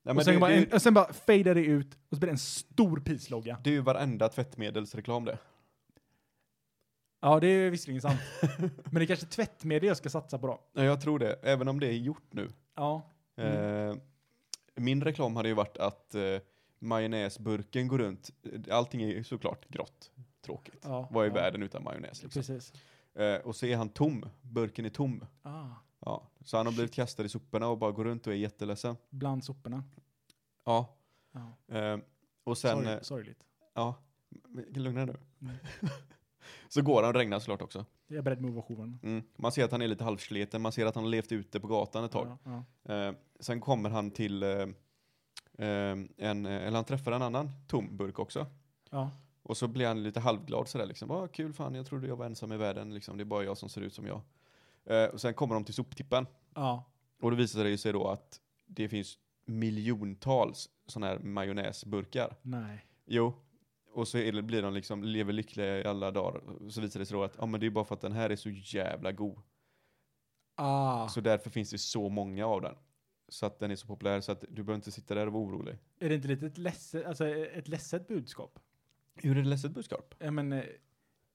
C: Nej,
D: och,
C: men det,
D: sen bara,
C: det,
D: en, och sen bara fadar det ut och så blir det en stor peace-logga.
C: det är ju varenda tvättmedelsreklam det.
D: Ja, det är visserligen sant. Men det är kanske tvättmedel jag ska satsa på då.
C: Ja, jag tror det, även om det är gjort nu.
D: Ja.
C: Eh, min reklam hade ju varit att eh, majonnäsburken går runt. Eh, Allting är ju såklart grått. Tråkigt.
D: ja
C: Vad är
D: ja,
C: världen utan majonnäs? Liksom.
D: Precis.
C: Eh, och så är han tom. Burken är tom.
D: Ah,
C: Ja. Så han har blivit kastad i soporna och bara går runt och är jätteledsen.
D: bland soporna.
C: Ja.
D: Ja.
C: Eh, och sen... eh,
D: Sorg, sorgligt.
C: Ja, men lugna dig nu.
D: Mm.
C: så går han och regnar såklart också.
D: Jag är beredd med ovationen.
C: Mm. Man ser att han är lite halvsleten, man ser att han har levt ute på gatan ett tag.
D: Ja, ja.
C: Eh, sen kommer han till, eh, eh, en, eh, eller han träffar en annan tom burk också.
D: ja.
C: Och så blir han lite halvglad sådär liksom. Vad kul fan, jag trodde jag var ensam i världen liksom. Det är bara jag som ser ut som jag. Eh, och sen kommer de till soptippen.
D: ja.
C: Och då visar det ju sig då att det finns miljontals sådana här majonnäsburkar.
D: Nej.
C: Jo. Och så är det, blir de liksom, lever lyckliga i alla dagar. Så visar det sig då att, ja men det är bara för att den här är så jävla god.
D: Ah.
C: Så därför finns det så många av den. Så att den är så populär så att du behöver inte sitta där och vara orolig.
D: Är det inte lite ett ledset, alltså ett ledset budskap?
C: Hur är det ledset budskap?
D: Ja, men... eh,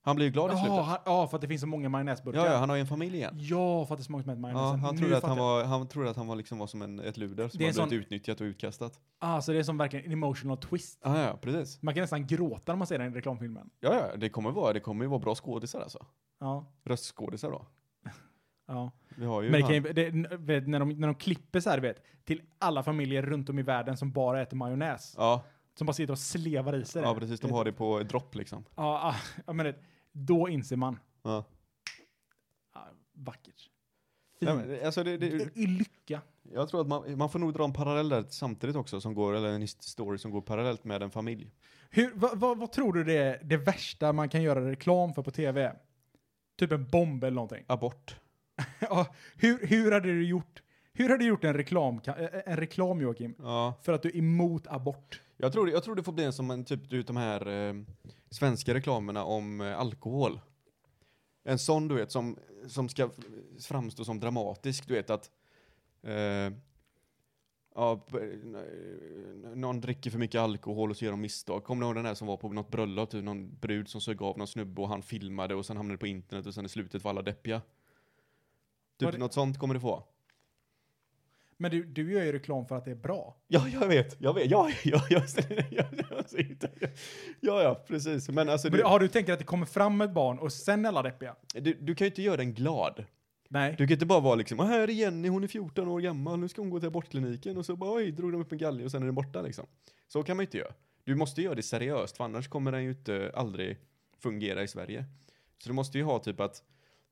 C: Han blir ju glad i
D: Jaha,
C: slutet.
D: han, ja, för att det finns så många majonnäsburkar.
C: Ja, ja, han har ju en familj igen.
D: Ja, för att det är så många som äter
C: Ja,
D: majonnäsen.
C: han
D: Nu
C: trodde att
D: fattar jag.
C: han var, han trodde att han var liksom var som en, ett luder som
D: Det är
C: har blivit
D: en sån-
C: utnyttjat och utkastat.
D: Ah, så det är som verkligen en emotional twist.
C: Ja, ja, precis.
D: Man kan nästan gråta när man ser den i reklamfilmen.
C: Ja, ja, det kommer vara, det kommer ju vara bra skådisar alltså.
D: Ja,
C: Röstskådisar då.
D: ja.
C: Vi har ju
D: Men det kan
C: han.
D: ju, det, vet, när, de, när de klipper så här, vet, till alla familjer runt om i världen som bara äter majonnäs.
C: Ja,
D: Som bara sitter och slevar i sig
C: ja,
D: det.
C: precis. De har det på dropp liksom.
D: Ja, ah, ja, men det, då inser man.
C: Ja.
D: Ah, vackert.
C: Nej,
D: Fint.
C: men, alltså det, det,
D: I lycka.
C: Jag tror att man, man får nog dra en parallell där samtidigt också, som går, eller en hist- story som går parallellt med en familj.
D: Hur, vad, vad, vad tror du det är det värsta man kan göra reklam för på tv? Typ en bomb eller någonting.
C: Abort.
D: Ja, hur, hur hade du gjort? Hur har du gjort en reklam, eh, en reklam Joakim?
C: Ja.
D: För att du är emot abort?
C: Jag tror, jag tror det får bli en som en typ ut de här eh, svenska reklamerna om eh, alkohol. En sån du vet som, som ska f- framstå som dramatisk, du vet att eh, ja, p- n- eh, någon dricker för mycket alkohol och så gör de misstag. Kommer ni ihåg den där som var på något bröllop, typ någon brud som sög av någon snubbe och han filmade och sen hamnade det på internet och sen i slutet var alla deppiga.
D: Var
C: Typ
D: det-
C: något sånt kommer det få.
D: Men du, du gör ju reklam för att det är bra.
C: Ja, jag vet, jag vet, ja, ja, jag, jag, jag, jag säger inte, ja, ja, precis, men alltså
D: Men
C: du,
D: har du tänkt att det kommer fram ett barn och sen är alla deppiga?
C: du, du kan ju inte göra den glad.
D: Nej.
C: Du kan inte bara vara liksom, "Ah, här är Jenny, hon är 14 år gammal, nu ska hon gå till abortkliniken och så bara, oj, drog de upp en galge och sen är den borta liksom. Så kan man ju inte göra. Du måste göra det seriöst, för annars kommer den ju inte aldrig fungera i Sverige. Så du måste ju ha typ att,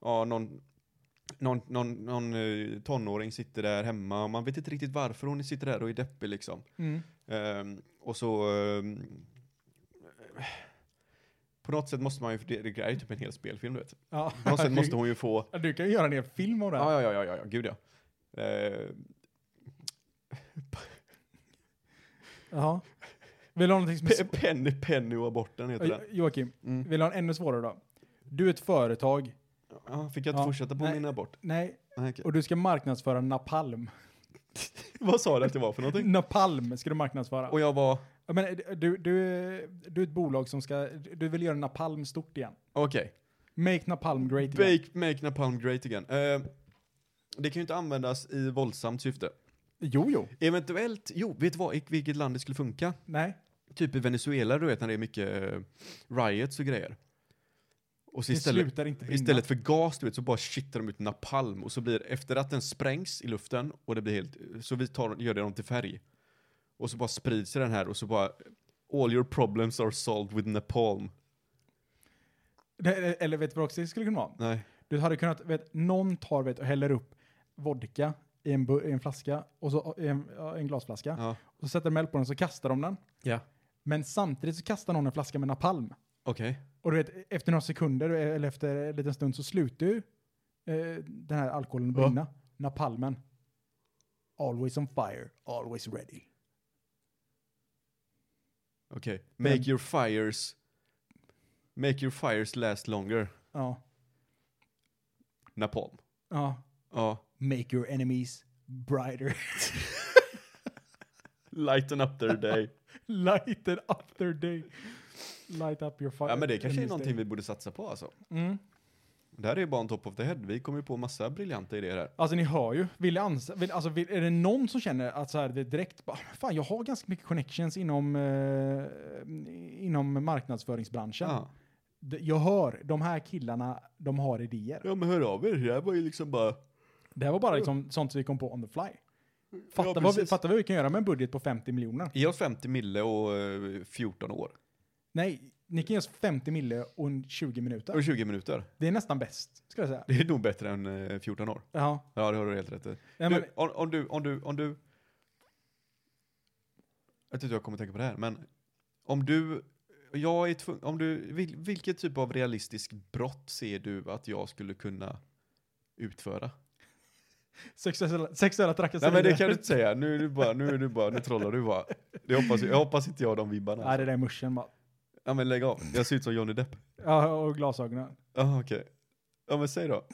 C: ja, någon, någon, någon, någon eh, tonåring sitter där hemma och man vet inte riktigt varför hon sitter där och är deppig liksom.
D: Mm.
C: Ehm, och så... ehm, på något sätt måste man ju, det, det är ju typ en hel spelfilm du vet.
D: Ja.
C: På något sätt måste hon ju få,
D: du, du kan ju göra en hel film om det här.
C: ja ja ja ja, ja, ja gud ja. Ehm,
D: Jaha. Vill du ha någonting som är...
C: Pe- Penny, Penny och aborten heter den.
D: Jo- Joakim,
C: Mm.
D: vill du ha en ännu svårare då? Du är ett företag.
C: Ja, fick jag inte
D: Ja,
C: fortsätta på
D: nej.
C: min abort?
D: Nej.
C: Nej, okej.
D: Och du ska marknadsföra napalm.
C: Vad sa du att det var för någonting?
D: Napalm ska du marknadsföra.
C: Och jag var,
D: Ja, Men eh, du, du, är- du är ett bolag som ska, du vill göra napalm stort igen.
C: okej.
D: Make napalm great again.
C: Bake, make napalm great again. Ehm, det kan ju inte användas i våldsamt syfte.
D: Jo, jo.
C: Eventuellt, jo, vet du vad, i vilket land det skulle funka?
D: Nej.
C: Typ i Venezuela, du vet när det är mycket eh, riots och grejer. Och så
D: Det
C: istället,
D: slutar inte brinna.
C: istället för gas, du vet, så bara kittar de ut napalm och så blir efter att den sprängs i luften och det blir helt, så vi tar, gör det dem till färg. Och så bara sprids den här och så bara All your problems are solved with napalm.
D: Det- eh, Eller vet du vad också det skulle kunna vara?
C: Nej.
D: Du hade kunnat, vet, någon tar vet, och häller upp vodka i en, bu- i en flaska, och så eh, i en, ja, en glasflaska,
C: Ja.
D: och så sätter de eld på den och så kastar de den.
C: Ja.
D: Men samtidigt så kastar någon en flaska med napalm.
C: Okej.
D: Och du vet, efter några sekunder eller efter en liten stund så slutar ju eh, den här alkoholen
C: Ja.
D: brinna. Napalmen. Always on fire, always ready.
C: Okej. Make your fires... Make your fires last longer.
D: Ja.
C: Napalm.
D: ja.
C: Ja.
D: Make your enemies brighter.
C: Lighten up their day.
D: Light it up their day. Light up your fire.
C: ja men det kanske är
D: enemies'
C: någonting
D: day.
C: vi borde satsa på alltså.
D: Mm.
C: Det här är ju bara en top of the head. Vi kommer ju på massa briljanta idéer här.
D: Alltså ni hör ju, vill jag ans- vill, alltså, vill, är det någon som känner att så här, det direkt bara, fan jag har ganska mycket connections inom, eh, inom marknadsföringsbranschen.
C: Ja.
D: D- Jag hör, de här killarna, de har idéer.
C: ja men hör av er, det här var ju liksom bara...
D: Det här var bara liksom sånt som vi kom på on the fly. Fatta,
C: Ja,
D: vad, vi,
C: precis.
D: fatta vad vi kan göra med en budget på 50 miljoner.
C: Ge oss 50 mille och eh, 14 år.
D: Nej, ni kan ge oss 50 mille och en 20 minuter.
C: Och 20 minuter.
D: Det är nästan bäst, ska jag säga.
C: Det är nog bättre än eh, 14 år.
D: Ja.
C: Ja det har du helt rätt i.
D: Nej, men,
C: Du, om, om du, om du, om du... Jag tror inte jag kommer tänka på det här men... Om du... Jag är tvungen, om du, vil, vilket typ av realistisk brott ser du att jag skulle kunna utföra?
D: sexuella, sexuella
C: Nej
D: trakasserier.
C: men det kan du inte säga, nu är du bara, nu är du bara, nu trollar du bara. Jag hoppas, jag hoppas inte jag har de vibbarna. alltså.
D: Nej, det där är muschen bara.
C: Ja men lägg av, jag ser ut som Johnny Depp.
D: Ja, och glasögonen.
C: Jaha okej. Ja men säg då.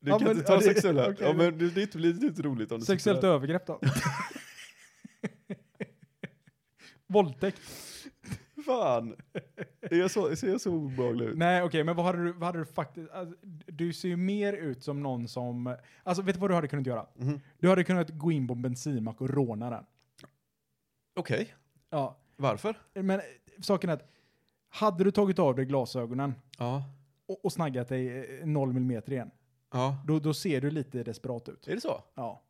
C: Du
D: Ja,
C: kan
D: men-
C: inte ta
D: ja, det-
C: sexuella.
D: okej.
C: ja men det, det är inte, det är inte roligt om du
D: Sexuellt
C: sitter där.
D: övergrepp då. Våldtäkt.
C: Fan! Är jag så, ser jag så obehaglig ut?
D: Nej, okej, men vad hade du, vad hade du faktiskt... Alltså, du ser ju mer ut som någon som... Alltså, vet du vad du hade kunnat göra?
C: Mhm.
D: Du hade kunnat gå in på en bensinmack och råna den.
C: Okej,
D: Ja,
C: varför?
D: men eh, saken är att hade du tagit av dig glasögonen
C: Ja.
D: och, och snaggat dig 0 millimeter igen,
C: Ja.
D: då, då ser du lite desperat ut.
C: Är det så?
D: Ja.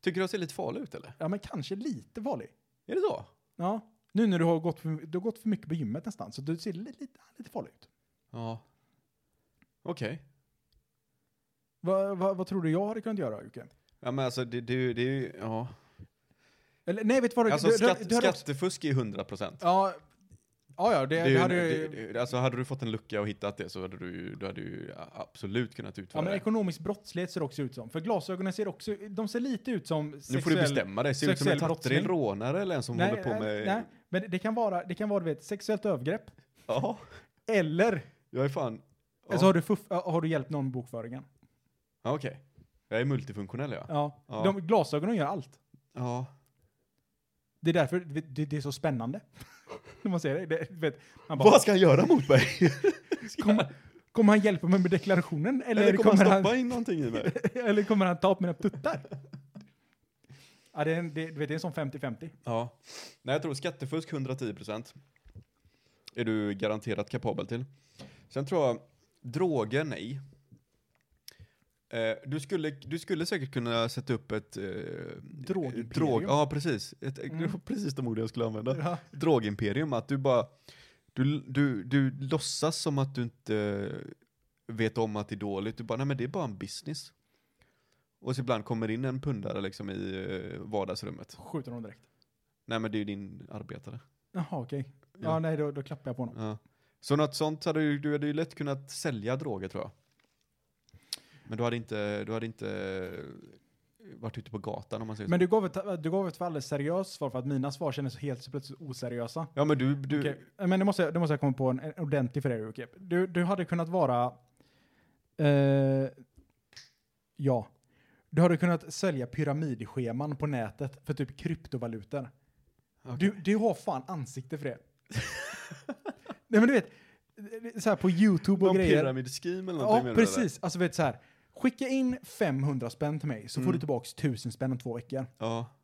C: Tycker du jag ser lite farlig ut eller?
D: ja, men kanske lite farlig.
C: Är det så?
D: Ja. Nu när du har gått för, du har gått för mycket på gymmet nästan, så du ser li- lite, lite farlig ut.
C: Ja. Okej.
D: Vad- vad- vad tror du jag hade kunnat göra, Jocke?
C: Ja men alltså det, det, det är ju, ja.
D: Eller nej, vet du vad? du-
C: Alltså
D: du, du,
C: skatt,
D: du hade också-
C: skattefusk är ju 100%.
D: Ja, Ja, ja, det,
C: Det
D: det,
C: är ju,
D: hade ju...
C: det, det, alltså hade du fått en lucka och hittat det så hade du, ju- du hade ju absolut kunnat
D: Ja,
C: utföra
D: men
C: det.
D: ekonomisk brottslighet ser det också ut som. För glasögonen ser också, de ser lite ut som
C: Nu får du bestämma dig. Ser du ut som en
D: sexuell
C: tattrig
D: brottsling.
C: rånare eller en som håller på med...
D: nej, men det kan vara, det kan vara du vet, sexuellt övergrepp.
C: Ja,
D: Eller
C: jag är fan... Ja,
D: så har du, fuff, äh, har du hjälpt någon med bokföringen.
C: ja, okej. Jag är multifunktionell ja.
D: Ja.
C: Ja.
D: De, glasögonen gör allt.
C: Ja.
D: Det är därför det, det, det är så spännande. När man ser det. det du vet, man bara,
C: Vad ska han göra mot mig?
D: kommer, kommer han hjälpa mig med deklarationen? Eller,
C: Eller kommer han stoppa in någonting i mig?
D: eller kommer han ta upp mina tuttar? ja, det är en, det, du vet, det är en sån 50-50.
C: Ja. Nej, jag tror skattefusk 110% är du garanterat kapabel till. Sen tror jag, droger, nej. Eh, du, skulle, du skulle säkert kunna sätta upp ett... Eh,
D: Drogimperium.
C: Drog, ja, precis. Ett, Det
D: Mm.
C: var precis de ord jag skulle använda.
D: Ja.
C: Drogimperium, att du bara... Du, du, du låtsas som att du inte vet om att det är dåligt. Du bara, nej men det är bara en business. Och så ibland kommer in en pundare liksom i eh, vardagsrummet.
D: Skjuter honom direkt.
C: Nej men det är ju din arbetare.
D: Jaha, okej. Ja,
C: Ja. Mm.
D: nej, då, då klappar jag på honom.
C: Ja. Så något sånt hade du, du hade ju lätt kunnat sälja droger tror jag. Men du hade inte, du hade inte varit ute på gatan om man säger
D: Men du gav ett, du gav ett för alldeles seriöst svar för att mina svar kändes helt plötsligt oseriösa.
C: så. Ja men du, du
D: Okej, Men det måste, jag- det måste jag komma på en, en ordentlig för dig, Jocke. Du, du hade kunnat vara... Eh, ja. Du hade kunnat sälja pyramidscheman på nätet för typ kryptovalutor.
C: Okej.
D: Du, du har fan ansikte för det. Nej men du vet, så här på YouTube och
C: någon
D: grejer.
C: pyramid scheme eller någonting
D: Ja,
C: menar du,
D: precis. Alltså vet så här. Skicka in 500 spänn till mig så
C: Mm.
D: får du tillbaka 1000 spänn om två veckor.
C: eller? Ja,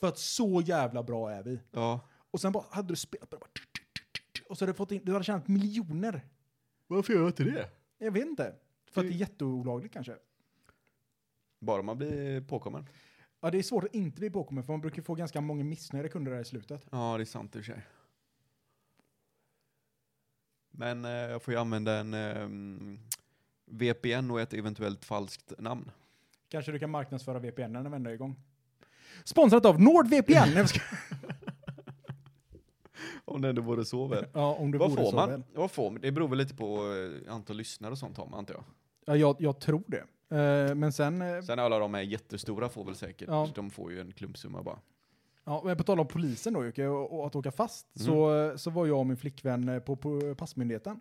D: För att så jävla bra är vi.
C: ja.
D: Och sen bara, hade du spelat på det bara, tut, tut, tut, tut, och så hade du fått in, du hade tjänat miljoner.
C: Varför gör jag inte det?
D: Jag vet inte. För att det är jätteolagligt kanske.
C: Bara man blir påkommen.
D: Ja, det är svårt att inte bli påkommen för man brukar få ganska många missnöjda kunder där i slutet.
C: Ja, det är sant i och för sig. Men eh, jag får ju använda en ehm, VPN och ett eventuellt falskt namn.
D: Kanske du kan marknadsföra VPN en vända igång. Sponsrat av NordVPN! Nej, jag skojar.
C: Om det ändå vore så väl.
D: ja, om du
C: Vad
D: vore
C: får,
D: så
C: man?
D: väl.
C: Vad får man? Det beror väl lite på eh, antal lyssnare och sånt har man, antar jag.
D: Ja, jag, jag tror det. Eh, men sen, eh,
C: Sen alla de här jättestora får väl säkert,
D: Ja.
C: de får ju en klumpsumma bara.
D: Ja, men på tal om polisen då Jocke, och, och att åka fast, så, så var jag och min flickvän eh, på, på Passmyndigheten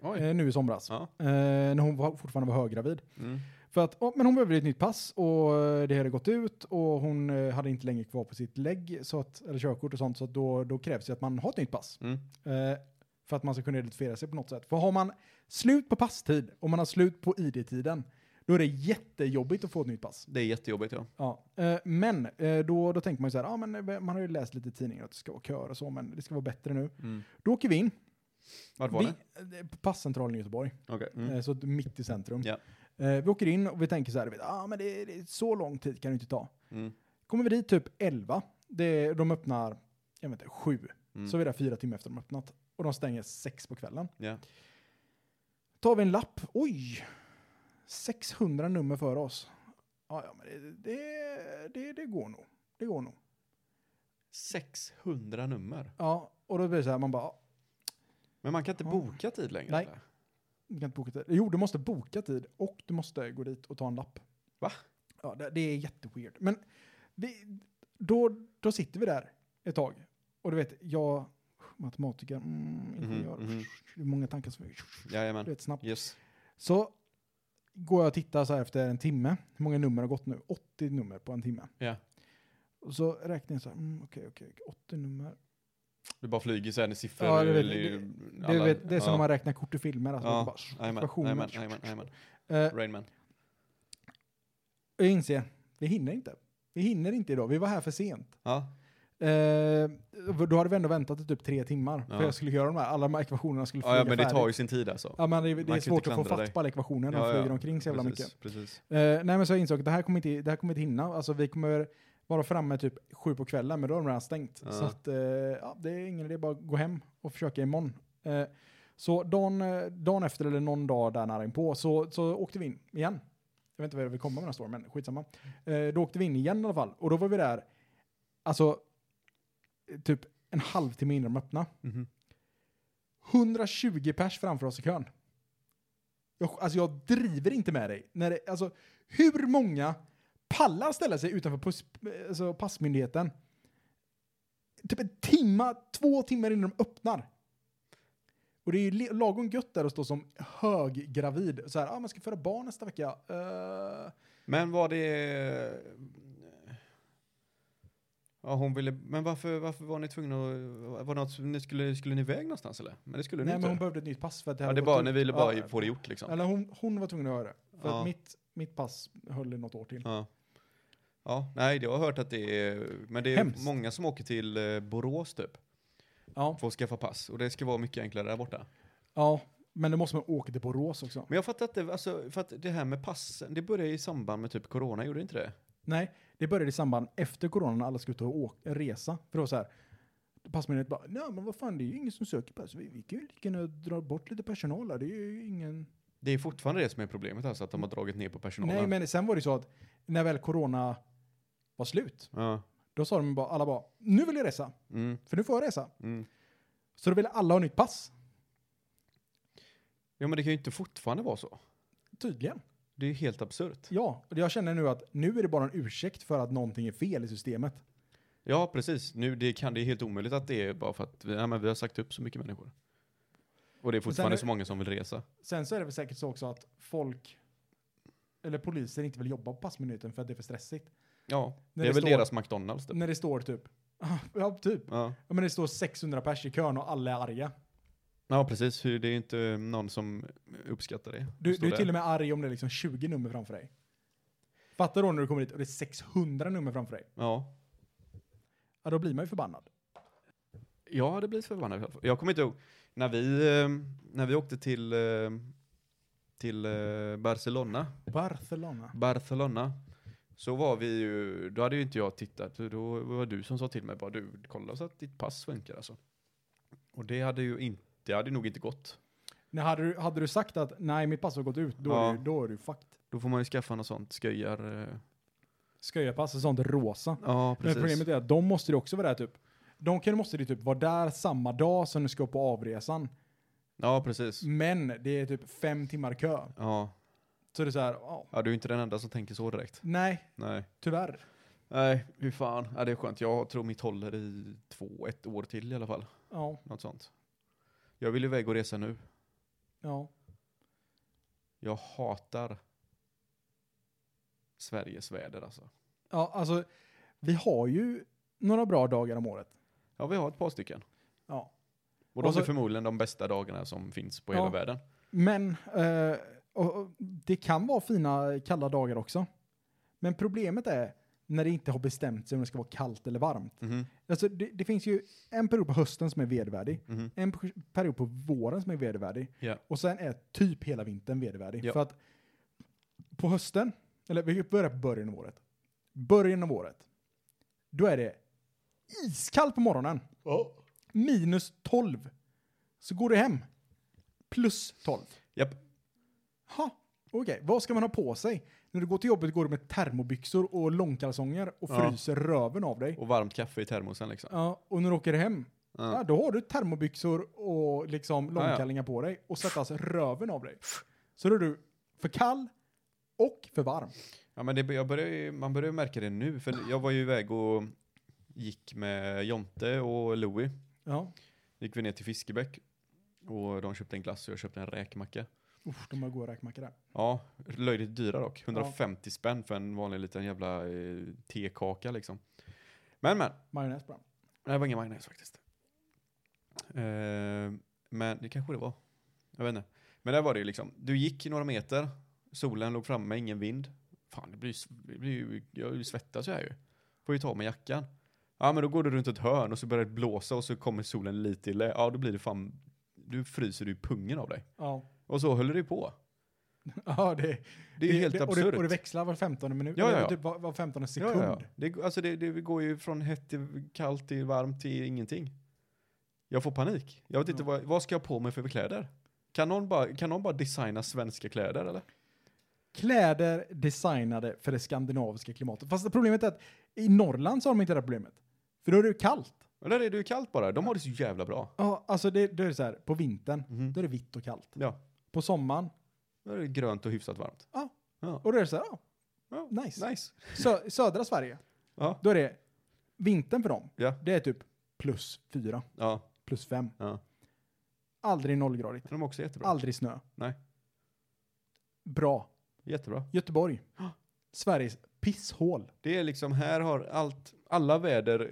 C: Oj.
D: eh, nu i somras.
C: Ja.
D: Eh, när hon var, fortfarande var höggravid.
C: Mm.
D: För att, ja, men hon behövde ett nytt pass och eh, det hade gått ut och hon eh, hade inte längre kvar på sitt lägg, så att, eller körkort och sånt, så att då, då krävs det att man har ett nytt pass.
C: Mm.
D: Eh, för att man ska kunna identifiera sig på något sätt. För har man slut på passtid och man har slut på ID-tiden, då är det jättejobbigt att få ett nytt pass.
C: Det är jättejobbigt ja.
D: Ja, eh, men eh, då, då tänker man ju så här, ah, men eh, man har ju läst lite i tidningen att det ska vara köer och så, men det ska vara bättre nu.
C: Mm.
D: Då åker vi in.
C: Vart var
D: vi,
C: det?
D: eh, På passcentralen i Göteborg,
C: Okej. Mm.
D: eh, så att mitt i centrum.
C: Ja.
D: Eh, vi åker in och vi tänker så här, vet, ah, men det, det, så lång tid kan det inte ta.
C: Mm.
D: Kommer vi dit typ 11, det, de öppnar, jag vet inte, 7.
C: Mm.
D: Så är vi där fyra timmar efter de har öppnat. Och de stänger 6 på kvällen.
C: Ja.
D: Tar vi en lapp, oj! 600 nummer för oss. Ja, ja, men det, det, det, det går nog. Det går nog.
C: 600 nummer.
D: Ja, och då blir det så här, man bara, ah,
C: Men man kan inte
D: Ja.
C: boka tid längre?
D: Nej.
C: eller?
D: du kan inte boka tid. Jo, du måste boka tid och du måste gå dit och ta en lapp.
C: Va?
D: Ja, det, det är jätteweird. Men vi, då, då sitter vi där ett tag. Och du vet, jag, matematiker, mm, ingenjör,
C: Mhm, mhm.
D: det är många tankar som, du
C: Jajamän.
D: vet, snabbt.
C: Yes.
D: Så går jag och tittar så här efter en timme. Hur många nummer har gått nu? 80 nummer på en timme.
C: Ja.
D: Och så räknar jag så här, mm, okej, okej, 80 nummer.
C: Du bara flyger sen i siffror.
D: Ja, du vet,
C: eller
D: det-
C: ju-
D: Det,
C: alla-
D: vet, det är som
C: ja.
D: när man räknar kort i filmer. Alltså
C: Ja,
D: bara,
C: Jajamän,
D: situationer.
C: jajamän, jajamän, jajamän.
D: Eh,
C: Rainman.
D: jag inser, vi hinner inte. Vi hinner inte idag, vi var här för sent.
C: Ja.
D: Eh, då hade vi ändå väntat i typ tre timmar.
C: Ja.
D: För jag skulle göra de här, alla de här ekvationerna skulle flyga
C: ja, ja, men det tar ju
D: färdigt.
C: sin tid alltså.
D: Ja, men det,
C: Man
D: det
C: kan
D: är
C: inte
D: svårt att få
C: klandra
D: fatt
C: dig.
D: på alla ekvationer när
C: Ja,
D: de
C: ja,
D: flyger omkring så jävla
C: precis,
D: mycket.
C: Precis.
D: Eh, nej men så jag insåg att det här kommer inte, det här kommer inte hinna. Alltså vi kommer vara framme typ sju på kvällen men då har de redan stängt.
C: Ja.
D: Så att eh, ja, det är ingen idé, bara gå hem och försöka imorgon. Eh, så dagen, eh, dagen efter eller någon dag där nära inpå så, så åkte vi in igen. Jag vet inte vad vi kommer med nästa år men skitsamma. Eh, då åkte vi in igen i alla fall och då var vi där, alltså eh, typ en halvtimme innan de öppnade.
C: Mhm.
D: 120 pers framför oss i kön. Jag, alltså jag driver inte med dig. När det, alltså, hur många pallar ställa sig utanför puss, alltså passmyndigheten? Typ en timma, två timmar innan de öppnar. Och det är ju le- lagom gött där att stå som höggravid. Så här, ah, man ska föda barn nästa vecka. Eh,
C: Men var det... Ja, hon ville... Men varför, varför var ni tvungna att... Var det något, ni skulle, skulle ni iväg någonstans eller? Men det skulle ni
D: nej,
C: inte.
D: men hon behövde ett nytt pass för att det
C: ja,
D: hade
C: det är
D: gått
C: bara,
D: ut.
C: ni ville bara
D: Ja.
C: få det gjort liksom.
D: Eller hon, hon var tvungen att göra det. För
C: Ja.
D: att mitt, mitt pass höll i något år till.
C: Ja. ja, nej, jag har hört att det är... Men det är
D: Hemskt.
C: många som åker till eh, Borås typ.
D: Ja.
C: För att skaffa pass. Och det ska vara mycket enklare där borta.
D: ja, men då måste man åka till Borås också.
C: Men jag fattar att det, alltså, för att det här med pass, det började i samband med typ corona, gjorde det inte det?
D: Nej, det började i samband efter coronan när alla skulle ut och åka, resa. För då var så här, passmyndigheten bara, nej men vad fan det är ju ingen som söker pass. Vi, vi kan ju lika gärna dra bort lite personal här. Det är ju ingen...
C: Det är fortfarande det som är problemet alltså, att de har dragit ner på personalen.
D: Nej men sen var det så att när väl corona var slut,
C: Ja,
D: då sa de bara, alla bara, nu vill jag resa.
C: mm,
D: För nu får jag resa.
C: mm.
D: Så då ville alla ha nytt pass.
C: ja, men det kan ju inte fortfarande vara så.
D: Tydligen.
C: Det är ju helt absurt.
D: Ja, och jag känner nu att nu är det bara en ursäkt för att någonting är fel i systemet.
C: Ja, precis. Nu det kan det är helt omöjligt att det är bara för att vi, nej, men vi har sagt upp så mycket människor. Och det är fortfarande
D: är-
C: så många som vill resa.
D: Sen så är det väl säkert så också att folk, eller poliser inte vill jobba på Passmyndigheten för att det är för stressigt.
C: Ja, det
D: När
C: är
D: det
C: väl
D: står-
C: deras McDonalds typ.
D: När det står typ, ja typ,
C: Ja.
D: ja, men det står 600 pers i kön och alla är arga.
C: ja, precis. Hur- Det är ju inte någon som uppskattar det.
D: Du,
C: Står
D: du är
C: där.
D: till och med arg om det är liksom 20 nummer framför dig. Fattar då när du kommer dit och det är 600 nummer framför dig.
C: Ja.
D: Ja, då blir man ju förbannad.
C: Jag hade blivit förbannad. i alla fall. Jag kommer inte ihåg. När vi, eh, när vi åkte till, eh, till eh, Barcelona
D: Barcelona.
C: Barcelona. Så var vi ju, då hade ju inte jag tittat, då var det du som sa till mig bara du, kolla så att ditt pass funkar alltså. Och det hade ju inte, det hade nog inte gått.
D: Nej, hade, du, hade du sagt att nej, mitt pass har gått ut, då,
C: Ja.
D: är, du, då är du fucked.
C: Då får man ju skaffa något sånt sköjar. eh.
D: Sköjarpass och sånt rosa.
C: Ja,
D: Men
C: precis.
D: problemet är att de måste ju också vara där typ. De kan, måste ju typ vara där samma dag som du ska på avresan.
C: Ja, precis.
D: Men det är typ fem timmar kö.
C: Mm. Ja.
D: Så det är så här, ja.
C: ja, du är inte den enda som tänker så direkt.
D: Nej,
C: Nej.
D: tyvärr.
C: Nej, hur fan. Ja, det är skönt. Jag tror mitt håller i två, ett år till i alla fall.
D: Ja,
C: Något sånt. Jag vill iväg och resa nu.
D: ja.
C: Jag hatar Sveriges väder alltså.
D: Ja, alltså vi har ju några bra dagar om året.
C: Ja, vi har ett par stycken.
D: Ja.
C: Och de
D: Och så-
C: är förmodligen de bästa dagarna som finns på
D: Ja.
C: hela världen.
D: Men eh, och, och, det kan vara fina kalla dagar också. Men problemet är när det inte har bestämt sig om det ska vara kallt eller varmt.
C: Mhm,
D: Alltså det, det finns ju en period på hösten som är vedervärdig,
C: Mhm.
D: en p- period på våren som är vedervärdig
C: Ja.
D: och sen är typ hela vintern vedervärdig.
C: Ja.
D: För att på hösten, eller vi börjar på början av året. Början av året, då är det iskallt på morgonen. Minus 12. Så går det hem. Plus 12.
C: Japp.
D: Ha, okej. Vad ska man ha på sig? När du går till jobbet går du med termobyxor och långkalsonger och
C: Ja.
D: fryser röven av dig.
C: Och varmt kaffe i termosen liksom.
D: Ja, och när du åker hem,
C: Ja.
D: ja, då har du termobyxor och liksom
C: ja.
D: långkallingar på dig och svettas röven av dig. Så då är du för kall och för varm.
C: Ja, men det, jag börjar ju, man börjar ju märka det nu. För jag var ju iväg och gick med Jonte och Louis.
D: Ja,
C: Gick vi ner till Fiskebäck. Och de köpte en glass och jag köpte en räkmacka.
D: Usch, de har goda räkmackor där.
C: Ja, löjligt dyra dock. 150 spänn för en vanlig liten jävla eh, tekaka liksom. Men men,
D: Majonnäs på den.
C: Nej, det var ingen majonnäs faktiskt. Eh, men det kanske det var. Jag vet inte. Men där var det ju liksom, du gick några meter, solen låg framme, ingen vind. Fan, det blir, ju s- det blir ju, jag svettas ju här ju. Får ju ta med jackan. Ja, men då går du runt ett hörn och så börjar det blåsa och så kommer solen lite i lä. Ja, då blir det fan, du fryser du i pungen av dig.
D: Ja,
C: Och så höll det ju på.
D: ja det,
C: Det är ju helt
D: det, och,
C: absurt.
D: det, och det växlar var 15 minut,
C: Ja, ja,
D: eller
C: ja.
D: typ var, var 15
C: Ja,
D: sekund.
C: Ja, ja. Det, alltså det, det går ju från hett till kallt till varmt till ingenting. Jag får panik. Jag vet inte
D: Ja.
C: vad, vad ska jag på mig för kläder? Kan någon, bara, kan någon bara designa svenska kläder eller?
D: Kläder designade för det skandinaviska klimatet. Fast problemet är att i Norrland så har de inte det här problemet. För då är det ju kallt.
C: Men där är det ju kallt bara. De har det så jävla bra.
D: Ja, alltså det, då är det så här, på vintern,
C: Mhm.
D: då är det vitt och kallt.
C: Ja,
D: På sommaren,
C: där är det grönt och hyfsat varmt.
D: Ja.
C: Ja.
D: och då är det så här, ja,
C: Ja,
D: nice.
C: Nice.
D: Sö, södra Sverige,
C: Ja.
D: då är det vintern för dem,
C: Ja.
D: det är typ plus fyra,
C: Ja,
D: plus fem.
C: Ja.
D: Aldrig nollgradigt,
C: de är också jättebra.
D: aldrig snö.
C: Nej.
D: Bra.
C: Jättebra.
D: Göteborg, Sveriges pisshål.
C: Det är liksom, här har allt, alla väder eh,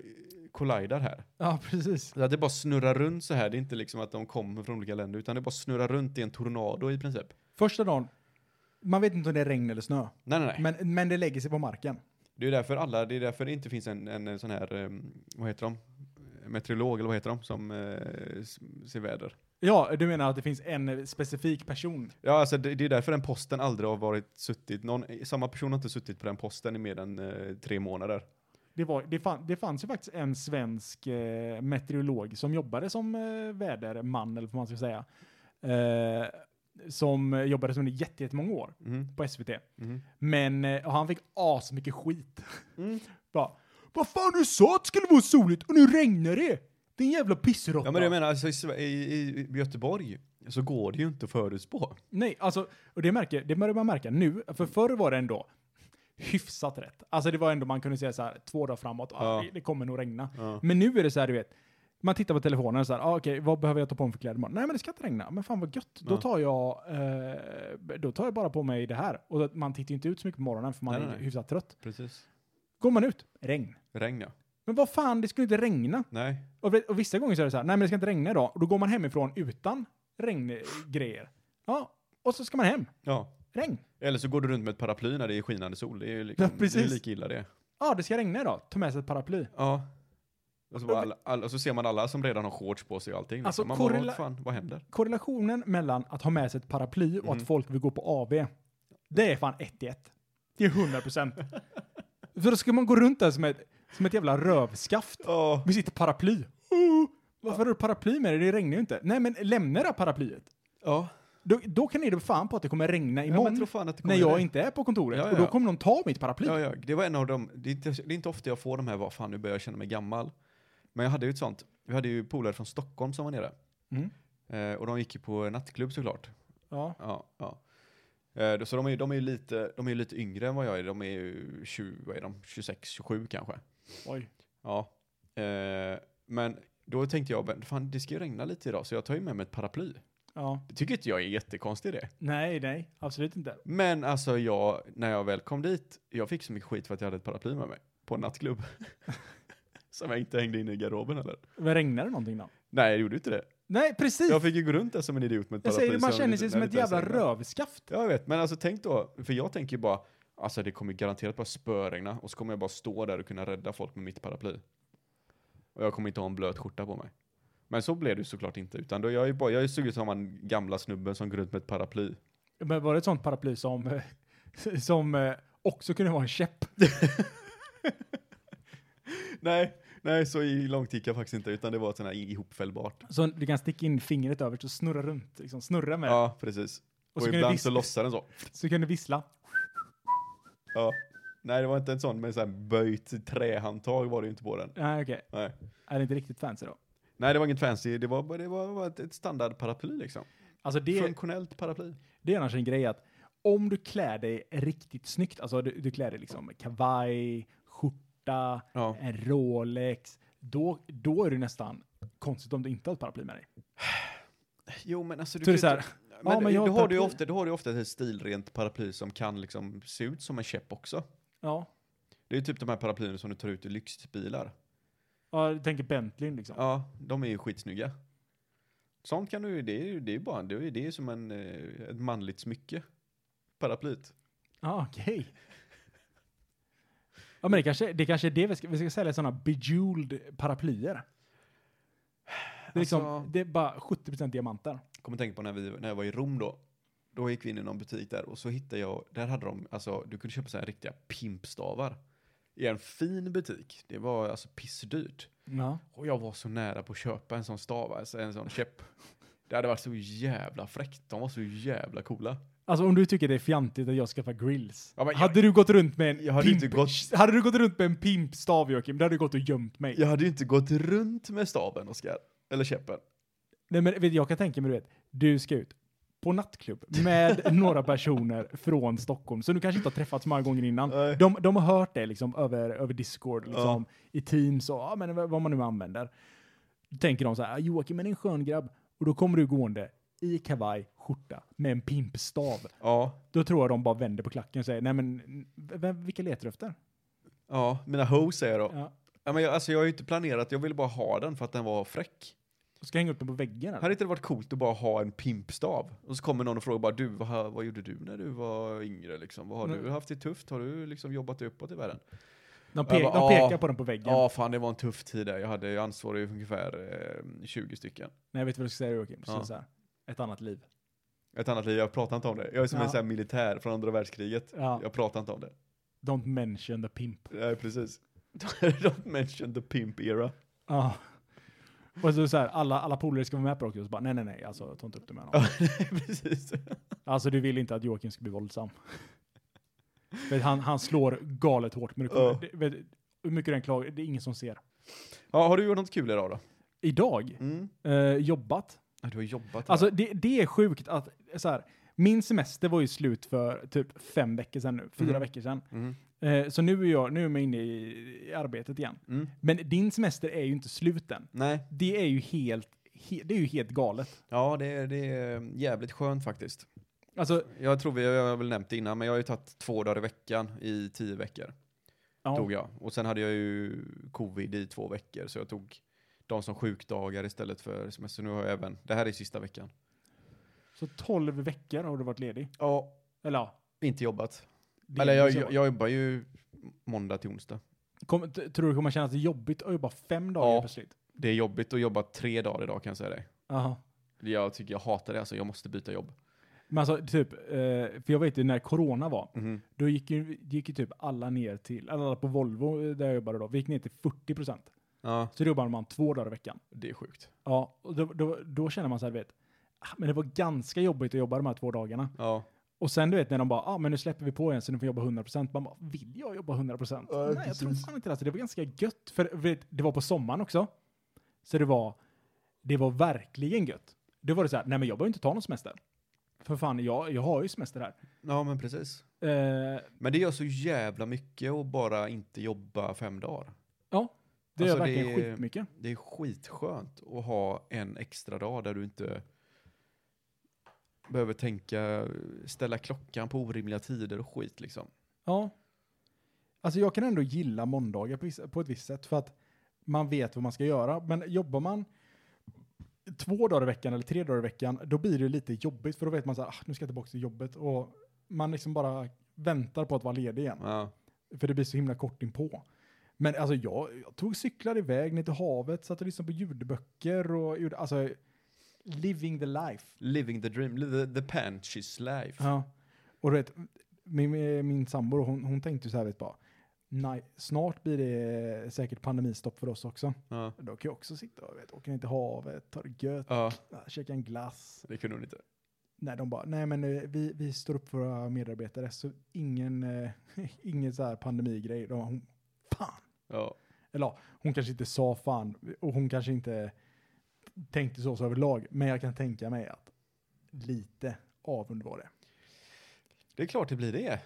C: kollidar här.
D: Ja, precis.
C: Så att det bara snurrar runt så här. Det är inte liksom att de kommer från olika länder, utan det bara snurrar runt i en tornado i princip.
D: Första dagen, man vet inte om det är regn eller snö,
C: Nej, nej, nej.
D: men, men det lägger sig på marken.
C: Det är därför alla, det är därför det inte finns en, en, eh, sån här, eh, vad heter de? Meteorolog, eller vad heter de? Som eh, s- ser väder.
D: Ja, du menar att det finns en eh, specifik person?
C: Ja, alltså det, det är därför den posten aldrig har varit suttit, någon, samma person har inte suttit på den posten i mer än eh, tre månader.
D: Det, var, det, fan, det fanns ju faktiskt en svensk eh, meteorolog som jobbade som eh, väderman, eller vad man ska säga. Eh, som jobbade som det jätte- jättemånga år
C: Mhm,
D: på SVT.
C: mhm.
D: Men eh, och han fick asmycket skit.
C: Mm.
D: Bara, Vad fan du sa att det skulle vara soligt och nu regnar det! Din jävla pissråtta.
C: Ja, men jag menar, alltså, i, Sve- i, i Göteborg så går det ju inte att förutspå.
D: Nej, alltså, och det, märker, det börjar man märka nu, för förr var det ändå hyfsat rätt. Alltså det var ändå, man kunde säga så här, två dagar framåt, ah,
C: Ja.
D: det- det kommer nog regna.
C: Ja.
D: Men nu är det så här, du vet, man tittar på telefonen och så här, ah, okej, vad behöver jag ta på mig för kläder imorgon? Nej, men det ska inte regna. Men fan vad gött. Då
C: Ja.
D: tar jag, eh, då tar jag bara på mig det här. Och att man tittar ju inte ut så mycket på morgonen för man
C: Nej,
D: är
C: nej, nej.
D: hyfsat trött.
C: Precis.
D: Går man ut, regn.
C: Regn, ja.
D: Men vad fan, det skulle inte regna.
C: Nej.
D: Och, vet- och vissa gånger så är det så här, nej men det ska inte regna idag. Och då går man hemifrån utan regngrejer. Ja, och så ska man hem.
C: Ja.
D: Regn.
C: Eller så går du runt med ett paraply när det är skinande sol. Det är ju liksom,
D: Ja,
C: det
D: precis.
C: är lika illa det.
D: Ja, det ska regna idag. Ta med sig ett paraply.
C: Ja. Och så, bara alla, alla, och så ser man alla som redan har shorts på sig och allting.
D: Alltså,
C: Alltså, man bara,
D: korrela-
C: vad fan, vad händer?
D: Korrelationen mellan att ha med sig ett paraply och att
C: Mm.
D: folk vill gå på AV, det är fan ett i ett. Det är 100 procent. För då ska man gå runt där som ett, som ett jävla rövskaft
C: Ja.
D: med sitt paraply. Oh, varför har du paraply med dig? Det regnar ju inte. Nej, men lämna det här paraplyet.
C: Ja.
D: Då, då kan ni det fan på att det kommer regna
C: ja
D: imorgon
C: men tror fan att det kommer
D: när jag
C: regn.
D: inte är på kontoret.
C: Ja, ja,
D: Och då
C: ja.
D: kommer någon ta mitt paraply.
C: Ja, ja. Det var en av dem. Det är, inte, det är inte ofta jag får de här, vad fan nu börjar jag känna mig gammal. Men jag hade ju ett sånt. Vi hade ju polare från Stockholm som var nere.
D: Mm.
C: Eh, och de gick ju på nattklubb såklart.
D: Ja.
C: Ja, ja. Eh, då- Så de är ju de är ju lite, de är ju lite yngre än vad jag är. De är ju 20, vad är de? 26, 27 kanske.
D: Oj.
C: Ja. Eh, Men då tänkte jag, "Men fan det ska ju regna lite idag så jag tar ju med mig ett paraply.
D: Ja.
C: Det tycker inte jag är en jättekonstig det.
D: Nej, nej. Absolut inte.
C: Men alltså jag, när jag väl kom dit, jag fick så mycket skit för att jag hade ett paraply med mig. På en nattklubb. Som jag inte hängde inne i garderoben eller.
D: Men regnar det någonting då?
C: Nej, jag gjorde inte det.
D: Nej, precis.
C: Jag fick ju gå runt där som en idiot med ett
D: Jag
C: paraply.
D: säger det, man
C: så
D: känner
C: vet
D: sig
C: inte-
D: som
C: när
D: ett
C: det inte
D: jävla
C: ens regnar.
D: rövskaft.
C: Ja, jag vet. Men alltså tänk då, för jag tänker ju bara, alltså det kommer garanterat bara spöregna och så kommer jag bara stå där och kunna rädda folk med mitt paraply. Och jag kommer inte ha en blöt skjorta på mig. Men så blev det ju såklart inte, utan då jag är ju bara, jag är ju såg ut som en gamla snubben som går runt med ett paraply.
D: Men var det ett sånt paraply som, eh, som eh, också kunde vara en käpp?
C: Nej, nej så i- långt gick jag faktiskt inte, utan det var ett sånt här ihopfällbart.
D: Så du kan sticka in fingret överst och snurra runt, liksom snurra med det.
C: Ja, precis.
D: Och
C: Och,
D: så kan du
C: ibland
D: vis-
C: så lossar den så.
D: Så kan du vissla.
C: Ja. Nej, det var inte en sån med så här böjt trähandtag var det ju inte på den.
D: Nej, okej.
C: Nej,
D: Är det inte riktigt fancy då?
C: nej det var inget fancy, det var, bara- det var, var ett, ett standardparaply liksom.
D: Alltså det,
C: Funktionellt paraply.
D: det är annars en grej att om du klär dig riktigt snyggt, alltså du, du klär dig liksom kavaj, skjorta,
C: Ja.
D: en Rolex, då, då är det nästan konstigt om du inte har ett paraply med dig.
C: Jo men alltså du
D: Så det är
C: kan
D: så
C: ju
D: här,
C: inte- men,
D: ja, men jag har
C: då, har du ju
D: paraply.
C: ofta, då har du ju ofta ett stilrent paraply som kan liksom se ut som en käpp också.
D: ja.
C: Det är ju typ de här paraplyerna som du tar ut i lyxbilar.
D: Ja, du tänker Bentley liksom.
C: Ja, de är ju skitsnygga. Sånt kan du ju, det är ju det är ju bara, det är ju det är ju som en, eh, ett manligt smycke. Paraplyt.
D: Ja, okej. Ja, men det kanske, det kanske är det vi ska, vi ska sälja sådana bejeweled paraplyer. Det är, liksom,
C: Alltså-
D: det är bara 70% diamanter.
C: Kommer tänka på när, vi, när jag var i Rom då. Då gick vi in i någon butik där och så hittade jag, där hade de, alltså du kunde köpa så här riktiga pimpstavar. I en fin butik. Det var alltså pissdyrt.
D: Ja.
C: Och jag var så nära på att köpa en sån stav, alltså en sån käpp. Det hade varit så jävla fräckt. De var så jävla coola.
D: Alltså om du tycker det är fjantigt att jag skaffar grills.
C: Ja, men jag-
D: hade du gått runt med en
C: Jag hade
D: pimp,
C: inte gått-
D: hade du gått runt med en pimpstav Joakim, då hade du gått och gömt mig.
C: Jag hade ju inte gått runt med staven, Oskar. Eller käppen.
D: Nej men vet, du, jag kan tänka mig du vet, du ska ut på nattklubb med några personer från Stockholm som du kanske inte har träffat så många gånger innan.
C: Nej.
D: De, de har hört det liksom över, över Discord, liksom, i Teams och ja, men, vad vad man nu använder. Då tänker de så här, "Ah, Joakim är en skön grabb. Och då kommer du gående i kavaj, skjorta, med en pimpstav.
C: Ja,
D: Då tror jag de bara vänder på klacken och säger, nej men vem, vilka letar du efter?
C: ja. Mina hoes säger jag då.
D: Ja.
C: Ja, men jag, alltså jag har ju inte planerat, jag ville bara ha den för att den var fräck.
D: Ska jag hänga upp den på väggen eller?
C: Hade inte det varit coolt att bara ha en pimpstav? Och så kommer någon och frågar bara du, vad, vad gjorde du när du var yngre liksom? Vad har
D: Mm.
C: du haft det tufft? Har du liksom jobbat dig uppåt i världen?
D: De, pe-
C: Jag bara,
D: de pekar
C: "Ah,
D: på den på väggen.
C: Ja, fan det var en tuff tid där. Jag hade jag ansvarig ungefär eh, 20 stycken.
D: Nej, vet du vad du ska säga Joakim? Du ska
C: Ja.
D: säga så här, ett annat liv.
C: Ett annat liv, jag pratar inte om det. Jag är som
D: Ja.
C: en sån här militär från andra världskriget.
D: Ja.
C: Jag pratar inte om det.
D: Don't mention the pimp.
C: Nej, precis. Don't mention the pimp era.
D: Ja. Ah. Och så, så här, alla, alla polare ska vara med på det också. Så bara, nej, nej, nej, alltså ta inte upp det med honom.
C: Ja, nej, precis.
D: Alltså du vill inte att Joakim ska bli våldsam. Vet, han, han slår galet hårt, men du kommer,
C: Ja.
D: det, vet, hur mycket den klagar, det är ingen som ser.
C: Ja, har du gjort något kul idag då?
D: Idag,
C: Mm.
D: eh, jobbat.
C: Ja, Du har jobbat.
D: Alltså det, det är sjukt att, så här, min semester var ju slut för typ fem veckor sedan nu, fyra
C: Mm.
D: veckor sedan.
C: Mm.
D: Eh, så nu är jag, nu är jag inne i, i arbetet igen.
C: Mm.
D: Men din semester är ju inte slut än.
C: Nej,
D: Det är ju helt, he, det är ju helt galet.
C: ja det är, det är jävligt skönt faktiskt.
D: Alltså,
C: Jag tror vi jag har väl nämnt det innan, men jag har ju tagit två dagar i veckan i tio veckor.
D: ja.
C: Tog jag. Och sen hade jag ju covid i två veckor, så jag tog dem som sjukdagar istället för semester. Nu har jag även, det här är sista veckan.
D: Så 12 veckor har du varit ledig?
C: Ja,
D: Eller ja.
C: inte jobbat.
D: det
C: Eller
D: är
C: jag,
D: så.
C: jag, jag jobbar ju måndag till onsdag.
D: Kom, t- tror du det kommer kännas jobbigt att jobba fem dagar
C: Ja.
D: plötsligt?
C: Det är jobbigt att jobba tre dagar idag kan jag säga dig.
D: Aha.
C: Jag tycker jag hatar det, alltså jag måste byta jobb.
D: Men alltså typ, eh, för jag vet ju när corona var,
C: Mhm.
D: då gick ju, gick ju typ alla ner till, eller alla på Volvo eh, där jag jobbade då, vi gick ner till 40%.
C: Ja,
D: Så då jobbade man två dagar i veckan.
C: det är sjukt.
D: Ja, och då, då, då känner man så här, du vet, ah, men det var ganska jobbigt att jobba de här två dagarna.
C: Ja.
D: Och sen du vet när de bara, ah, men nu släpper vi på igen så ni får jobba 100%. Man bara, vill jag jobba 100%? Nej, jag tror fan inte det. Alltså, det var ganska gött. För vet, det var på sommaren också. Så det var, det var verkligen gött. Då var det så här, nej men jag behöver inte ta någon semester. För fan, jag, jag har ju semester här.
C: ja, men precis.
D: Eh,
C: Men det gör så jävla mycket att bara inte jobba fem dagar.
D: ja, det
C: Alltså,
D: är verkligen
C: det är-
D: skitmycket.
C: Det är skitskönt att ha en extra dag där du inte behöver tänka, ställa klockan på orimliga tider och skit liksom.
D: Ja. Alltså jag kan ändå gilla måndagar på, vissa, på ett visst sätt för att man vet vad man ska göra. Men jobbar man två dagar i veckan eller tre dagar i veckan, då blir det lite jobbigt för då vet man så här, ah, nu ska jag tillbaka till jobbet och man liksom bara väntar på att vara ledig igen.
C: Ja.
D: För det blir så himla kort inpå. Men alltså jag, jag tog cyklar iväg ner till havet, satt och lyssnade på ljudböcker och gjorde, alltså living the life.
C: Living the dream, the, the panchis life.
D: Ja. Och du vet, min, min sambo då, hon, hon tänkte ju så här, vet bara, nej, snart blir det säkert pandemistopp för oss också.
C: Ja.
D: Då kan jag också sitta och vet, åka ner till havet, ta det gött,
C: ja,
D: käka en glass.
C: det kunde hon inte.
D: Nej, de bara, nej men eh, vi, vi står upp för våra medarbetare, så ingen, eh, ingen så här pandemigrej. De bara, hon, fan!
C: Ja.
D: Eller ja, hon kanske inte sa fan, och hon kanske inte tänkte så, så överlag, men jag kan tänka mig att lite avund var det.
C: Det är klart det blir det.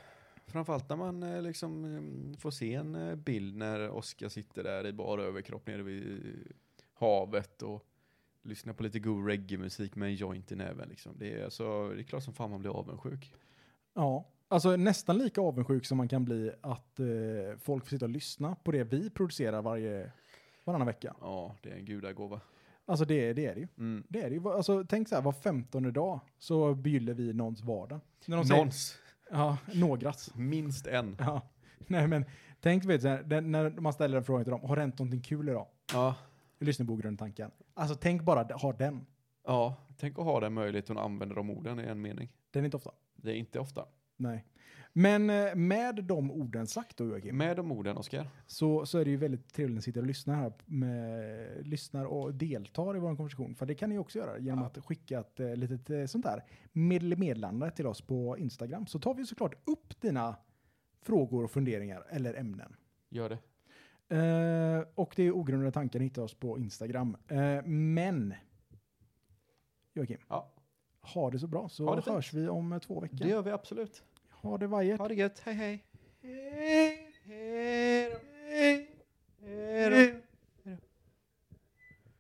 C: Framförallt när man eh, liksom mm, får se en eh, bild när Oskar sitter där i bar överkropp nere vid eh, havet och lyssnar på lite god reggae-musik med en joint i näven liksom. Det är, alltså, det är klart som fan man blir avundsjuk.
D: Ja, alltså nästan lika avundsjuk som man kan bli att eh, folk får sitta och lyssna på det vi producerar varje, varannan vecka.
C: Ja, det är en gudagåva.
D: Alltså det, det är det ju.
C: Mm.
D: Det är det ju. Va- Alltså, tänk så här, var femtonde dag så bjuller vi någons vardag. När de säger,
C: Någons,
D: Ja, någras.
C: minst en.
D: Ja. Nej men, tänk vet, du, så här, den, när man ställer en fråga till dem, har det hänt någonting kul idag?
C: Ja,
D: Lyssna på ogrundade tankar. Alltså tänk bara, d- ha den.
C: ja. tänk att ha den möjligheten att använda de orden i en mening.
D: Den är inte ofta.
C: Det är inte ofta.
D: Nej. Men eh, med de orden sagt då Joakim,
C: Med de orden, Oskar.
D: så, så är det ju väldigt trevligt att sitta och lyssna här, med, lyssnar och deltar i vår konversation. För det kan ni också göra genom att skicka ett eh, litet eh, sånt där medel- meddelande till oss på Instagram. Så tar vi såklart upp dina frågor och funderingar eller ämnen.
C: Gör det.
D: Eh, och det är ogrundade tankar, ni hittar oss på Instagram. Eh, men, Joakim,
C: Ja.
D: ha det så bra så
C: Ha det fint.
D: hörs vi om eh, två veckor.
C: Det gör vi absolut.
D: Ha det vajert.
C: Ha det gött. Hej, hej. Hej.